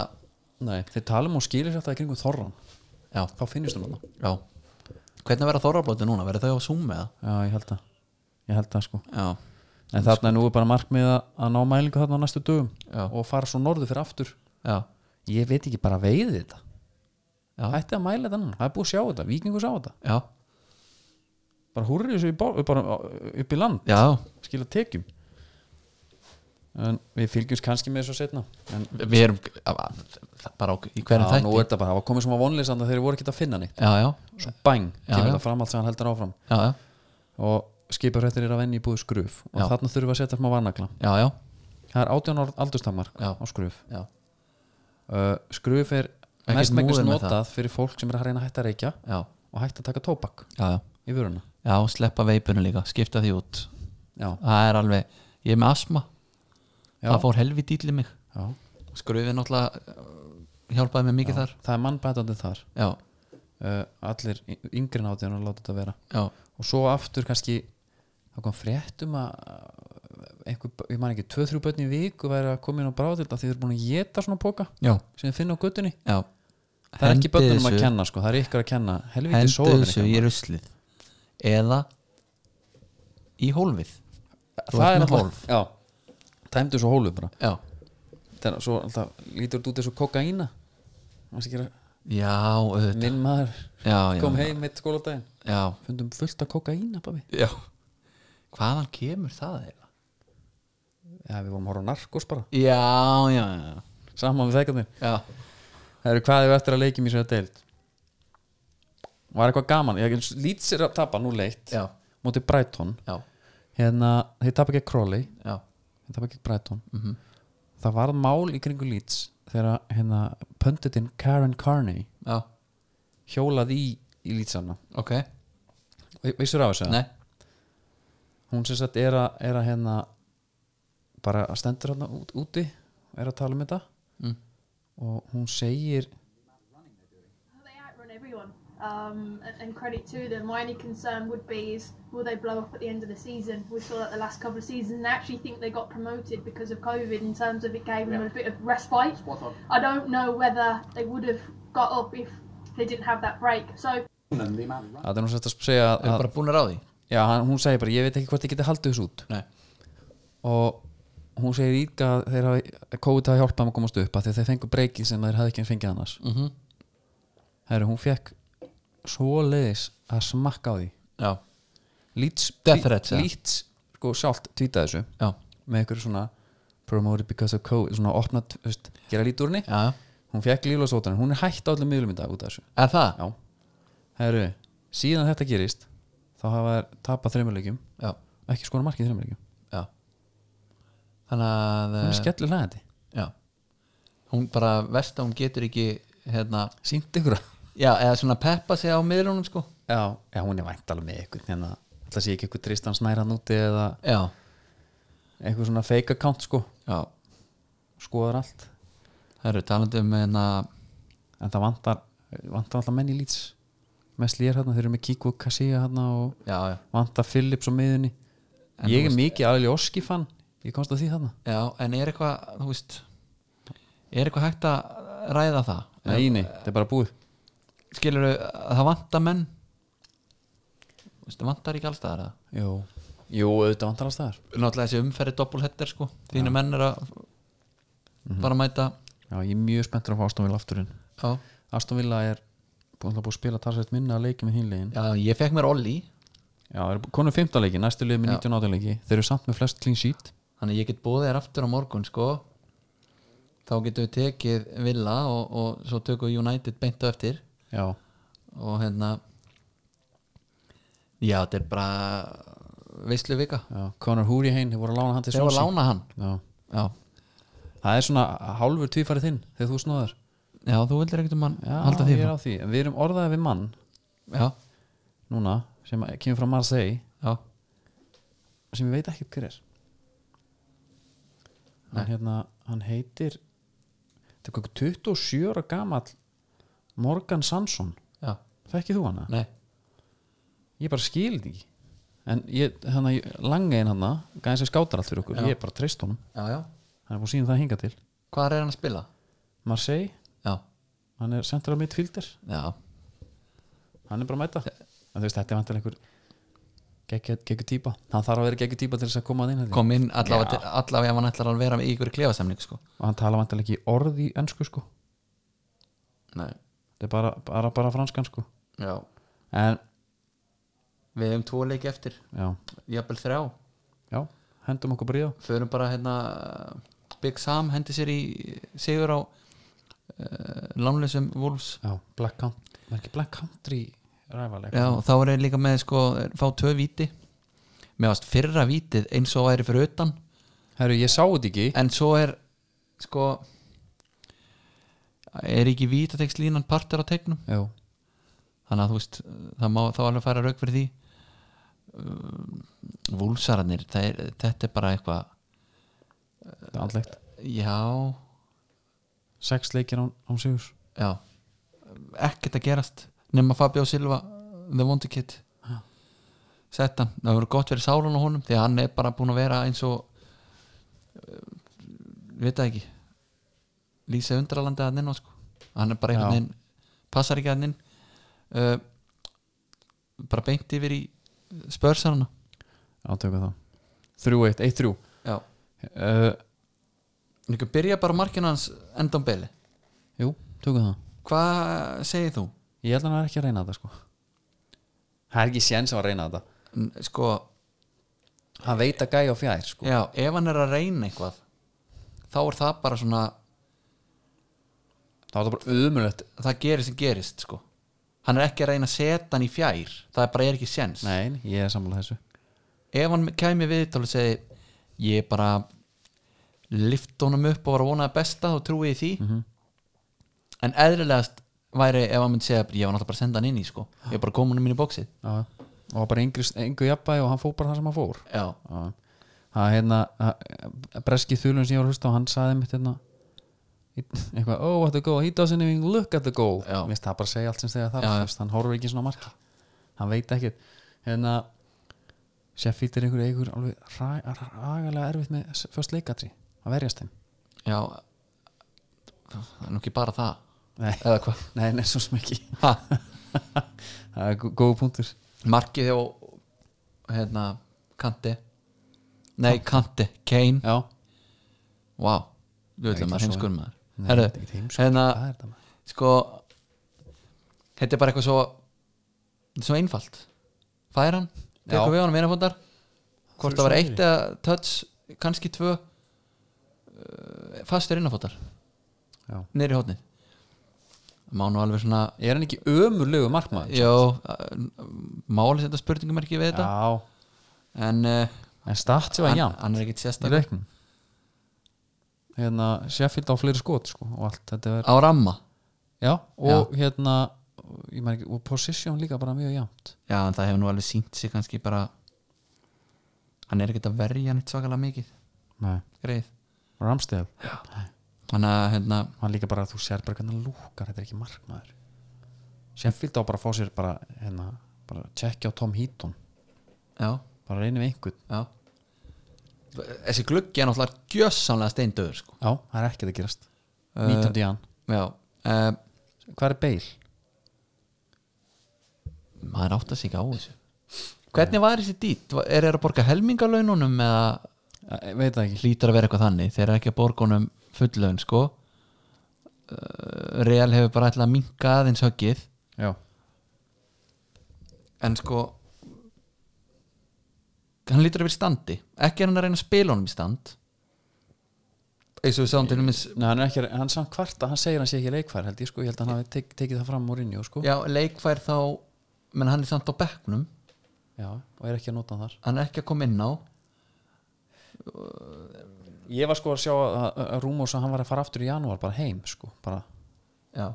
Speaker 1: nei, þeir tala um og skilir þetta í kringum þorran,
Speaker 2: Já,
Speaker 1: þá finnist hún hana
Speaker 2: já Hvernig verða þorrablóti núna? Verða þau á Zoom eða?
Speaker 1: já, ég held það, ég held það sko
Speaker 2: Já,
Speaker 1: en þarna nú er bara markmið að- að ná mælingu þarna á næstu dögum
Speaker 2: Já.
Speaker 1: og fara svo norður fyrir aftur
Speaker 2: já,
Speaker 1: ég veit ekki bara veiði þetta
Speaker 2: Já.
Speaker 1: hætti að mæla þetta annan, það er búið að sjá þetta vikingur sá þetta,
Speaker 2: já,
Speaker 1: bara húrrið þessu í bor- bara upp í land,
Speaker 2: já
Speaker 1: skila tekjum en við fylgjumst kannski með þessu setna en
Speaker 2: Við erum bara á, í hverjum
Speaker 1: já, nú
Speaker 2: þætti
Speaker 1: er þetta bara, það var komið svona vonleysand að þeir voru ekki að finna neitt
Speaker 2: Já, já,
Speaker 1: svo bang,
Speaker 2: Já,
Speaker 1: kemur
Speaker 2: já.
Speaker 1: þetta fram allt sem hann heldur áfram
Speaker 2: já, já,
Speaker 1: og skipurhættir er að venni í búið skruf og
Speaker 2: Já.
Speaker 1: þarna þurfum við að setja smá vannakla
Speaker 2: já, já,
Speaker 1: það er 18 ára aldurstamark
Speaker 2: Já.
Speaker 1: á skruf
Speaker 2: já.
Speaker 1: uh, skruf er
Speaker 2: Ekkert
Speaker 1: mestmengnis
Speaker 2: múður með
Speaker 1: notað fyrir fólk sem er að reyna að hætta að reykja
Speaker 2: já,
Speaker 1: og hætta að taka tóbak
Speaker 2: já, já.
Speaker 1: í vöruna
Speaker 2: Já, sleppa veipinu líka, skipta því út
Speaker 1: já,
Speaker 2: Það er alveg, ég er með asma
Speaker 1: já,
Speaker 2: Það fór helvi dýl í mig
Speaker 1: já.
Speaker 2: Skrufið náttúrulega uh, hjálpaði mér mikið þar
Speaker 1: það er mannbætandi þar
Speaker 2: Já,
Speaker 1: uh, allir y- yngri náttíðan að láta þetta vera
Speaker 2: já,
Speaker 1: og svo aftur kannski það kom frétt um að uh, einhver, ég man ekki, 2-3 börn í viku væri að koma inn á bráðild að því þeir eru búin að geta svona póka
Speaker 2: já,
Speaker 1: sem þið finna á guttunni
Speaker 2: já
Speaker 1: það er ekki
Speaker 2: Hendið
Speaker 1: börnunum að
Speaker 2: þessu-
Speaker 1: kenna sko, það er ykkur að kenna helviti
Speaker 2: Hendu
Speaker 1: sóðum
Speaker 2: þessu í ruslið Eða Í hólfið þú
Speaker 1: það
Speaker 2: ert
Speaker 1: er
Speaker 2: með
Speaker 1: alltaf, já tæmdu svo hólu bara
Speaker 2: Já,
Speaker 1: þannig að svo alltaf lítur þetta út þessu kokaína Manstu ekki að-
Speaker 2: já, auðvitað
Speaker 1: minn maður
Speaker 2: Já, já,
Speaker 1: kom heim mitt skóladaginn
Speaker 2: já,
Speaker 1: fundum fullt af kokaína pabbi
Speaker 2: já Hvaðan kemur það eða?
Speaker 1: já við vorum að horfa á narkos bara
Speaker 2: Já, já, já,
Speaker 1: saman við þegarnir
Speaker 2: já
Speaker 1: það eru hvað við eftir að leikjum í sér að deild var eitthvað gaman ég lít sér að tapa nú leitt
Speaker 2: Já,
Speaker 1: móti Brighton
Speaker 2: já,
Speaker 1: hérna þeir tapa ekki Crowley
Speaker 2: já,
Speaker 1: þeir tapa ekki Brighton
Speaker 2: Mhm.
Speaker 1: það varð mál í kringu Leeds þegar hérna pöndutinn Karen Carney
Speaker 2: já,
Speaker 1: hjólaði í, í Leedsana
Speaker 2: ok
Speaker 1: veistur af þessu eða?
Speaker 2: Nei,
Speaker 1: hún sem sagt er að, er að hérna bara að stendur hérna út, úti er að tala um þetta
Speaker 2: Mm.
Speaker 1: og hún segir
Speaker 3: They outrun everyone. Um, a- and credit to them. My only concern would be is will they blow up at the end of the season? We saw that the last couple of seasons. And I actually think they got promoted because of COVID in terms of it gave them a bit of respite.
Speaker 4: Spot on.
Speaker 3: I don't know whether they would have got up if they didn't have that break. So
Speaker 4: And the amount of run-
Speaker 1: að það er nú sett að segja
Speaker 2: við erum
Speaker 1: að,
Speaker 2: bara búin að ráði
Speaker 1: já, hann- hún segir bara ég veit ekki hvort ég geti haldið þessu út
Speaker 2: Nei,
Speaker 1: og hún segir líka að þeir hafi COVID hafi hjálpað þeim að komast upp af því að þeir fengu breyki sem þeir hafði ekki fengið annars mm
Speaker 2: Mhm.
Speaker 1: Herru, hún fekk svoleiðis að smakka á því
Speaker 2: já,
Speaker 1: Leeds,
Speaker 2: Death threats, eða?
Speaker 1: Leeds sko sjálft tvítið þessu
Speaker 2: já,
Speaker 1: með einhverju svona promoted because of COVID svona opna, þú veist, gera lítur henni
Speaker 2: já
Speaker 1: hún fekk líflagsótanir, hún er hætt á allir miðlum í dag út af þessu
Speaker 2: Er það?
Speaker 1: já, herru, síðan þetta gerist þá hafa þær tapað þreymurleikjum
Speaker 2: Já,
Speaker 1: ekki skora markið þreymurleikjum,
Speaker 2: já Þannig að
Speaker 1: hún er
Speaker 2: eh,
Speaker 1: skellir hlæðandi
Speaker 2: Já Hún bara vest að hún getur ekki hérna,
Speaker 1: sínt ykkur að
Speaker 2: já, eða svona peppa sig á miðrunum sko
Speaker 1: já, já, hún er vænt alveg með ykkur hérna, ætla sé ekki ykkur Tristan Snær hann úti eða
Speaker 2: Já,
Speaker 1: eitthvað svona fake account sko,
Speaker 2: já
Speaker 1: skoðar allt
Speaker 2: Það eru talandi um hérna,
Speaker 1: en það vantar, vantar alltaf menn í lýts með slýjar hérna, þeir eru með Kiko Kassía hérna og
Speaker 2: já, já,
Speaker 1: vantar Phillips á miðunni
Speaker 2: En
Speaker 1: ég
Speaker 2: þú
Speaker 1: er mikið aðli Oski fann ég komst að því þarna
Speaker 2: já En er eitthvað, þú veist Er eitthvað hægt að ræða það?
Speaker 1: nei, nei, þetta er bara búið
Speaker 2: Skilur þau að það vantar menn Þú veist, það vantar ekki alls staðar eða?
Speaker 1: jú, jú auðvitað vantar alls þar
Speaker 2: Náttúrulega þessi umferði doppulhettir sko Þínu menn er að
Speaker 1: Mhm.
Speaker 2: bara mæta
Speaker 1: Já, ég er mjög spenntur að fá Aston Villa afturinn
Speaker 2: Já,
Speaker 1: Aston Villa er búin að búin að spila talsveit minna að leiki með hinlegin
Speaker 2: já ég fekk mér Olli
Speaker 1: Já, það er konum 15 leiki, næstu liði með 19 átján leiki Þeir eru samt með flest clean sheet
Speaker 2: Þannig að ég get búið þér aftur á morgun sko þá getum við tekið Villa og, og svo tökum við United beint á eftir
Speaker 1: já,
Speaker 2: og hérna já, þetta er bara veistlu vika
Speaker 1: já Conor Húrihein, þeir voru að lána hann til
Speaker 2: þegar
Speaker 1: Swansea.
Speaker 2: var að lána hann
Speaker 1: Já.
Speaker 2: já,
Speaker 1: það er svona hálfur tvífarið þinn þegar þú snóðar
Speaker 2: já þú vildir ekkert um hann
Speaker 1: já,
Speaker 2: halda því
Speaker 1: ég er
Speaker 2: fram.
Speaker 1: á því, en við erum orðaði við mann
Speaker 2: já,
Speaker 1: núna, sem kemur frá Marseille
Speaker 2: já,
Speaker 1: sem ég veit ekki hver er hann hérna, hann heitir þetta er hvað 27 ára gamall Morgan Sansson
Speaker 2: já,
Speaker 1: þekkið þú hana?
Speaker 2: nei
Speaker 1: ég bara skil því en ég, hann að langa einn hann gæði sem skátar allt fyrir okkur,
Speaker 2: Já.
Speaker 1: ég bara treyst honum
Speaker 2: já, já,
Speaker 1: hann er búin síðan það hinga til
Speaker 2: hvað er hann að spila?
Speaker 1: Marseille,
Speaker 2: já,
Speaker 1: hann er central midfielder
Speaker 2: já,
Speaker 1: hann er bara að mæta en þú veist, þetta er vantilega einhver geggjur geggju típa, hann þarf að vera geggjur típa til þess að koma að inn held ég.
Speaker 2: kom inn allavega, til, allavega ef hann ætlar að vera með í ykkur klefasemning sko.
Speaker 1: og hann tala vantilega ekki orð í ennsku sko
Speaker 2: nei,
Speaker 1: þetta er bara, bara, bara franskan sko
Speaker 2: já
Speaker 1: en,
Speaker 2: við hefum tvo leiki eftir,
Speaker 1: já,
Speaker 2: jafnvel þrjá
Speaker 1: já hendum okkur bríða
Speaker 2: förum bara hérna Big Sam hendi sér í sigur á uh, lánlösum Wolves
Speaker 1: já, Black Country, var ekki Black Country ræfaleg
Speaker 2: Já, og þá er þeir líka með sko fá tvö víti með ást fyrra vítið eins og væri fyrir utan
Speaker 1: herru, ég sá þetta ekki
Speaker 2: en svo er sko er ekki vítatekst línan partur á tegnum
Speaker 1: já,
Speaker 2: þannig að þú veist það má þá alveg færa rauk fyrir því Um, Vúlsararnir það er- þetta er bara eitthvað
Speaker 1: þetta er andlegt
Speaker 2: já,
Speaker 1: sex leikir án, án sigur
Speaker 2: já ekkert að gerast nema Fabio Silva The Wonder Kid
Speaker 1: Já.
Speaker 2: sett hann, það voru gott verið sárun á honum því að hann er bara búin að vera eins og við það ekki lýsa undralandi að hann inn á, sko. hann er bara
Speaker 1: Já.
Speaker 2: einhvern veginn passar ekki að hann inn uh, bara beint yfir í eh, spörsarana
Speaker 1: átöku þá 3-1, 1-3
Speaker 2: já,
Speaker 1: uh,
Speaker 2: Nikku, byrja bara markinu hans endan beli
Speaker 1: jú, tökum það
Speaker 2: hvað segir þú?
Speaker 1: ég held að hann er ekki að reyna þetta sko það er ekki séns á að reyna þetta
Speaker 2: N- sko,
Speaker 1: hann veit að gæja á fjær sko
Speaker 2: já, ef hann er að reyna eitthvað þá er það bara svona
Speaker 1: það var það bara umulett
Speaker 2: það gerist sem gerist sko hann er ekki að reyna að setja hann í fjær það er bara er ekki séns
Speaker 1: nein, ég er sammála þessu
Speaker 2: ef hann kæmi við til að segja ég bara lift honum upp og var að vona það besta og trúi ég því en eðlilegast væri ef hann myndi segja ég var náttúrulega bara að senda hann inn í sko ég bara kom honum inn í bóksið
Speaker 1: já. og var bara yngur, yngur jafnbæði og hann fór bara það sem hann fór
Speaker 2: já,
Speaker 1: Já. það hérna að- breski þulun sem ég var að hlusta og hann saði mitt hérna eitthvað, oh what a goal, he doesn't even look at the goal
Speaker 2: Já.
Speaker 1: Mér finnst það bara að segja allt sem segja þar
Speaker 2: Já, já.
Speaker 1: Vist, hann horfur ekki svona á marki hann veit ekkert hérna Sheffield er einhver einhver alveg ragalega erfitt með s- först leikatri að verjast þeim
Speaker 2: já það er nú ekki bara það
Speaker 1: nei,
Speaker 2: eða hvað
Speaker 1: nei, nei svo sem ekki *laughs*
Speaker 2: Ha?
Speaker 1: það er gó- góð punktur
Speaker 2: markið hjá hérna, Kanti nei, Kanti, Kane
Speaker 1: já,
Speaker 2: Vá, þú veit um
Speaker 1: Ekkert
Speaker 2: að maður
Speaker 1: svo.
Speaker 2: heimskur maður
Speaker 1: Nei,
Speaker 2: Herru,
Speaker 1: þetta er ekkert heimskur,
Speaker 2: hérna,
Speaker 1: hvað er þetta maður?
Speaker 2: sko Þetta er bara eitthvað svo þetta er Svo einfalt Fær hann, tekur
Speaker 1: Já.
Speaker 2: við honum einafóndar Hvort
Speaker 1: Fyrir
Speaker 2: það var
Speaker 1: svo
Speaker 2: eitt eða touch Kanski tvö uh, Fastur einafóndar
Speaker 1: Já.
Speaker 2: Nýri hótni Má nú alveg svona
Speaker 1: er hann ekki ömurlegu markmaður?
Speaker 2: Jó, máli setja spurningum ekki við þetta
Speaker 1: já,
Speaker 2: En uh,
Speaker 1: en statsi var
Speaker 2: hann,
Speaker 1: jafn
Speaker 2: hann er ekkit
Speaker 1: í
Speaker 2: sérstak
Speaker 1: leiknum hérna Sheffield á fleiri skot sko, og allt þetta verður
Speaker 2: Á ramma
Speaker 1: já, og hérna ég maður ekki, og position líka bara mjög jæmt
Speaker 2: Já, en það hefur nú alveg sínt sig kannski bara hann er ekkert að verja nýtt svakalega mikið
Speaker 1: nei,
Speaker 2: greið
Speaker 1: Ramstead,
Speaker 2: þannig að hérna,
Speaker 1: hann líka bara þú sér bara hvernig hann lúkar, þetta er ekki markmaður Sheffield á bara að fá sér bara hérna, bara tjekkja á Tom Heaton
Speaker 2: já,
Speaker 1: bara reynið við einhvern
Speaker 2: já þessi gluggi er náttúrulega gjössanlega steindöður sko.
Speaker 1: já, það er ekkert að gerast
Speaker 2: Eh.
Speaker 1: 19. jan,
Speaker 2: já, uh,
Speaker 1: hvað er Bale?
Speaker 2: maður átt að sig ekki á þessu hvernig var þessi dýtt? Er það að borga helmingalaununum eða
Speaker 1: Eh, veit það ekki,
Speaker 2: hlýtar að vera eitthvað þannig þeir eru ekki að borga honum fulllaun sko uh, Real hefur bara ætlað að minka aðeins höggið
Speaker 1: já,
Speaker 2: en sko hann lítur að vera í standi ekki er hann að reyna að spila honum í stand eins og við sáum til dæmis
Speaker 1: Nei, hann er ekki, hann samt kvarta, hann segir hann sé ekki leikfær held ég sko, ég held að hann hafi tek, tekið það fram úr inni sko.
Speaker 2: já, leikfær þá menn hann er samt á bekknum
Speaker 1: Já, og er ekki að nota hann þar
Speaker 2: hann er ekki að koma inn á
Speaker 1: Ég var sko að sjá að, að Rúmós að hann var að fara aftur í janúar bara heim sko, bara
Speaker 2: já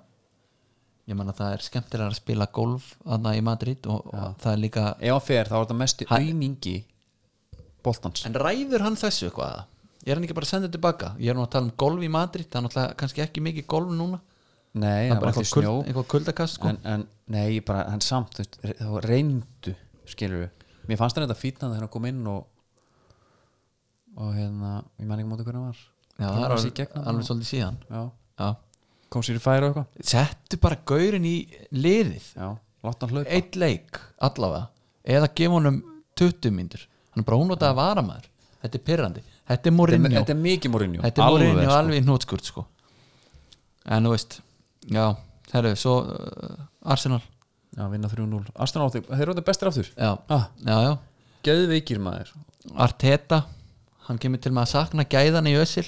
Speaker 2: ég man að það er skemmtilega að spila golf aðna í Madrid og, og það er líka
Speaker 1: Ef hann fer, þá er þetta mest í
Speaker 2: Hann-
Speaker 1: aumingi boltans
Speaker 2: en ræður hann þessu eitthvað ég er hann ekki bara að senda tilbaka ég er nú að tala um golf í Madrid það er náttúrulega kannski ekki mikið golf núna
Speaker 1: Nei,
Speaker 2: það
Speaker 1: hann
Speaker 2: er bara
Speaker 1: var allir
Speaker 2: eitthvað,
Speaker 1: snjó
Speaker 2: kuld, eitthvað kuldakast sko.
Speaker 1: en, en, nei, ég bara, en samt þú veist, re- þá reyndu, skilur við mér fannst hann þetta fítna þegar hann kom inn og og hérna ég man ekki móti hvernig hann var
Speaker 2: já, það
Speaker 1: Kemur hann
Speaker 2: er
Speaker 1: sér í
Speaker 2: alveg,
Speaker 1: gegnum
Speaker 2: alveg
Speaker 1: og-
Speaker 2: svolítið síðan
Speaker 1: já,
Speaker 2: já.
Speaker 1: kom sér í færi og eitthvað
Speaker 2: settu bara gaurin í liðið
Speaker 1: já, látt hann hlaupa
Speaker 2: eitt leik allavega eða gefa honum 20 myndur hann er bara hún að vara maður þetta er pyrrandi, þetta er
Speaker 1: Þetta er-
Speaker 2: Mourinho
Speaker 1: þetta er mikið Mourinho
Speaker 2: þetta er Mourinho
Speaker 1: sko.
Speaker 2: alveg í hnótskurt sko en þú veist já, herru, svo uh, Arsenal
Speaker 1: já, vinna 3-0 Astronauti, þeir eru þetta bestir aftur
Speaker 2: já,
Speaker 1: ah,
Speaker 2: já, já,
Speaker 1: geðveikir maður
Speaker 2: Arteta hann kemur til með að sakna gæðan í Ösil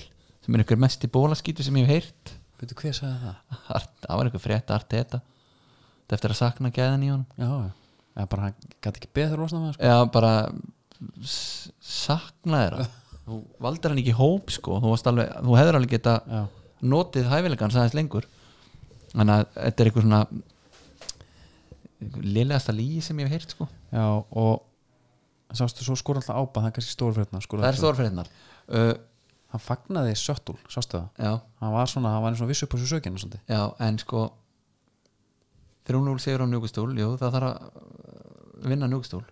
Speaker 2: sem er ykkur mest í bólaskýtu sem ég hef heyrt
Speaker 1: veitu hver sagði það?
Speaker 2: Art, það var ykkur frétt Arteta Þetta eftir að sakna gæðan í honum
Speaker 1: já, já, Já, bara hann gæti ekki betur losna með það sko.
Speaker 2: Já, bara s- sakna þeirra Þú valdir hann ekki í hóp sko þú, varst alveg, þú hefur alveg geta
Speaker 1: já,
Speaker 2: notið hæfilegan sæðis lengur Þannig að þetta er eitthvað svona liðlegasta lígi sem ég hef heyrt sko
Speaker 1: já, og sástu svo skor alltaf ápa það er kannski stórfrétna
Speaker 2: Það er stórfrétnar uh,
Speaker 1: hann fagnaði söttul, sástu það
Speaker 2: Já,
Speaker 1: hann var svona, hann var eins og viss upp á þessu sökinu svona.
Speaker 2: já, en sko 3-0 sigur á njúkustól Jú, það þarf að uh, vinna njúkustól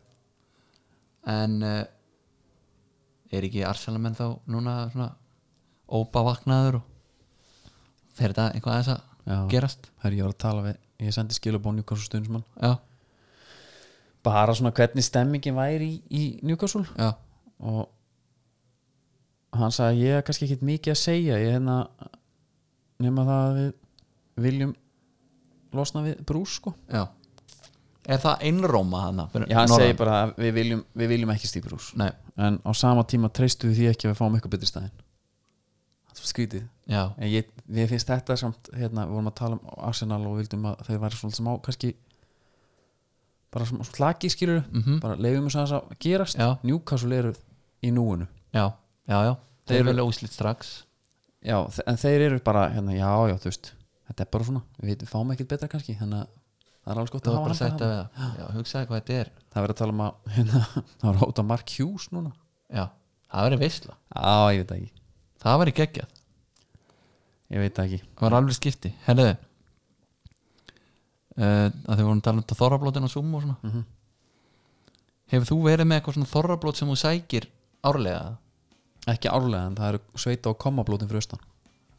Speaker 2: En uh, er ekki Arsalamenn þá núna svona ópa vaknaður og fer þetta eitthvað aðeins að
Speaker 1: Já.
Speaker 2: gerast
Speaker 1: Herri, ég var að tala við, ég sendi skilabón Newcastle stundismann,
Speaker 2: Já,
Speaker 1: bara svona hvernig stemmingin væri í, í Newcastle
Speaker 2: já,
Speaker 1: og hann sagði ég er kannski ekkit mikið að segja ég hérna nema það að við viljum losna við brús sko
Speaker 2: já Er það einróma hana?
Speaker 1: já, hann segi bara að við viljum, við viljum ekki stíð brús
Speaker 2: Nei,
Speaker 1: en á sama tíma treystu við því ekki að við fáum eitthvað betri staðin það var skrítið
Speaker 2: já,
Speaker 1: en ég, ég finnst þetta samt hérna, við vorum að tala um Arsenal og vildum að þeir væri svona smá kannski bara svona slaki skilur
Speaker 2: Mhm.
Speaker 1: bara leifum þess aðeins að gerast
Speaker 2: Já.
Speaker 1: Newcastle eru í núinu
Speaker 2: já, já, já
Speaker 1: Þeir
Speaker 2: Þeir
Speaker 1: eru-
Speaker 2: vilja úslit strax
Speaker 1: já, þe- en þeir eru bara hérna, já, já, þú veist þetta er bara svona, við, veit- við fáum ekkert betra kannski þannig að það er alls gott
Speaker 2: Það
Speaker 1: að
Speaker 2: var
Speaker 1: hafa
Speaker 2: bara að setja
Speaker 1: hann
Speaker 2: við það Já, hugsaði hvað þetta er
Speaker 1: það verður að tala um að *laughs* hérna, það var átt að Mark Hughes núna
Speaker 2: Já, það verið veisla
Speaker 1: já, ég veit það ekki
Speaker 2: Það verið geggjað
Speaker 1: ég veit það ekki,
Speaker 2: Það var alveg skipti Herðu Uh, að þið vorum að tala um þetta þorrablótin og sumu og svona hefur þú verið með eitthvað svona þorrablót sem þú sækir árlega
Speaker 1: ekki árlega en það eru sveita og kommablótin fyrir austan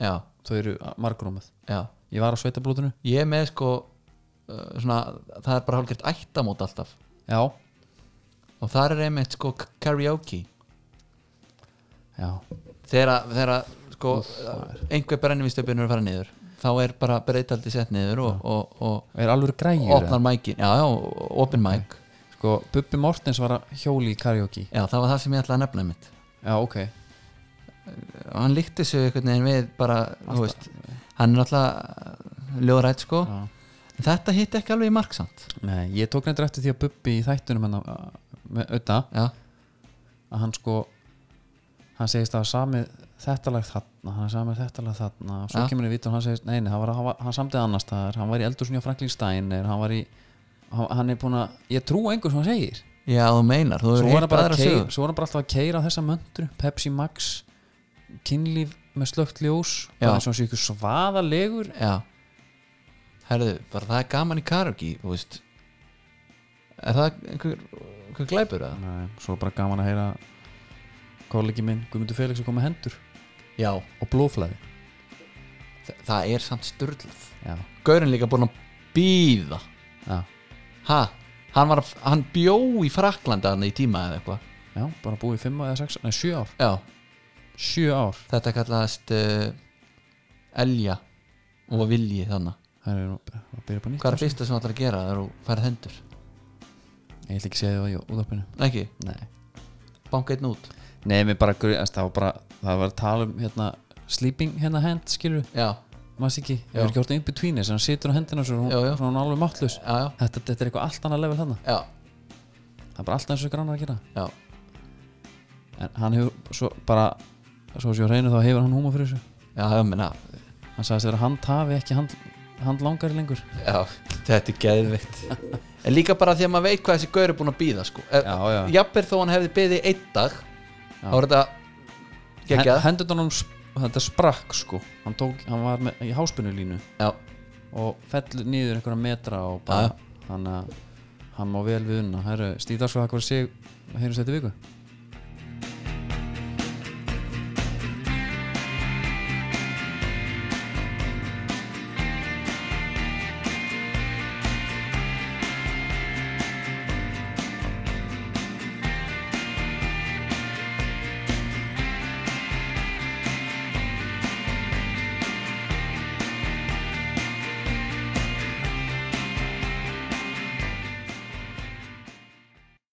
Speaker 2: já,
Speaker 1: þau eru margrómið,
Speaker 2: já,
Speaker 1: ég var á sveitablótinu
Speaker 2: ég er með sko uh, svona, það er bara hálfgert ættamót alltaf
Speaker 1: já,
Speaker 2: og þar er einmitt sko k- karaoke
Speaker 1: já,
Speaker 2: þegar að- þegar að, sko einhver brennivístöpun er að fara niður þá er bara breytaldi sett niður og, og, og,
Speaker 1: er alveg græjur
Speaker 2: og
Speaker 1: eða?
Speaker 2: opnar mækin já, já, og open mic
Speaker 1: Sko, Bubbi Mortens var að hjóli í karaoke
Speaker 2: já, það var það sem ég ætlaði að nefna einmitt
Speaker 1: Já, ok
Speaker 2: og hann líkti sig einhvern veginn við bara, þú veist, hann er alltaf ljóðrætt sko
Speaker 1: Já.
Speaker 2: en þetta hitt ekki alveg í marksamt
Speaker 1: Nei, ég tók reyndur eftir því að Bubbi í þættunum hennar, a- með auða
Speaker 2: já,
Speaker 1: að hann sko hann segist að sami þetta lag þarna hann sami þetta lag þarna og svo
Speaker 2: Já.
Speaker 1: kemur við vitt og hann segist, nei, nei, hann, var, hann, var, hann samtið annars staðar, hann var í Eldursunni á Franklin Steiner hann var í, hann, hann er búin að ég trú engur sem hann segir
Speaker 2: já þú meinar þú
Speaker 1: svo
Speaker 2: hefur
Speaker 1: var, hann
Speaker 2: hitt
Speaker 1: bara að
Speaker 2: aðra
Speaker 1: keir,
Speaker 2: sögur
Speaker 1: svo var hann bara alltaf að keira þessa möndru Pepsi Max, kynlíf með slögt ljós,
Speaker 2: Já.
Speaker 1: bara eins og hann sé ykkur svaðalegur
Speaker 2: já, herðu, bara það er gaman í karaoke þú veist er það einhver, einhver glæpur að
Speaker 1: Nei, svo er bara gaman að heyra kollegi minn Guðmundur Felix að koma með hendur
Speaker 2: já,
Speaker 1: og blóflæði
Speaker 2: þa- það er samt styrlað
Speaker 1: já,
Speaker 2: Gaurin líka búin að býða
Speaker 1: já,
Speaker 2: ha, hann, var, að- hann bjó í Fraklanda hann í tíma eða eitthvað
Speaker 1: já, bara búið í 5 eða 6, nei 7 ár
Speaker 2: já,
Speaker 1: 7 ár,
Speaker 2: Þetta kallaðist uh, Elja og vilji þannig
Speaker 1: það er nú að byrja upp á nýtt sko.
Speaker 2: Hvað er fyrsta sem þú ætlar að gera þegar þú færð hendur?
Speaker 1: ég ætla ekki að segja það í úðarpinu
Speaker 2: Nei, Ekki,
Speaker 1: nei,
Speaker 2: banka einn út
Speaker 1: nei, mér bara, gru- þess, það var bara það var að tala um hérna sleeping hérna hand skilur
Speaker 2: já,
Speaker 1: maður sé ekki, ég
Speaker 2: Já.
Speaker 1: er ekki hort in between þess hann situr á hendina svo er hún,
Speaker 2: Já, já.
Speaker 1: svo er hún alveg máttlaus
Speaker 2: já, já,
Speaker 1: þetta, þetta er eitthvað allt annað level þarna
Speaker 2: já,
Speaker 1: það er bara allt eins og ykkur annar að gera
Speaker 2: já.
Speaker 1: en hann hefur svo bara svo sem ég á reynu þá hefur hann húma fyrir þessu
Speaker 2: Já, ég meina,
Speaker 1: hann sagðist þegar hann tafi ekki hand, hand langari lengur
Speaker 2: já, þetta er geðvikt En líka bara því að maður veit hvað þessi gaur er búin að býða sko.
Speaker 1: Já, já.
Speaker 2: Jafnir þó hann hefði býðið einn dag
Speaker 1: Já.
Speaker 2: Þá er þetta geggjað
Speaker 1: hendutunum þetta sprakk sko hann, tók, hann var með, í háspinulínu
Speaker 2: Já,
Speaker 1: og fellur niður einhverja metra og bara þannig að hann má vel við unna Herru, Stíð Dagsgóð, það var sig heyrjum þetta viku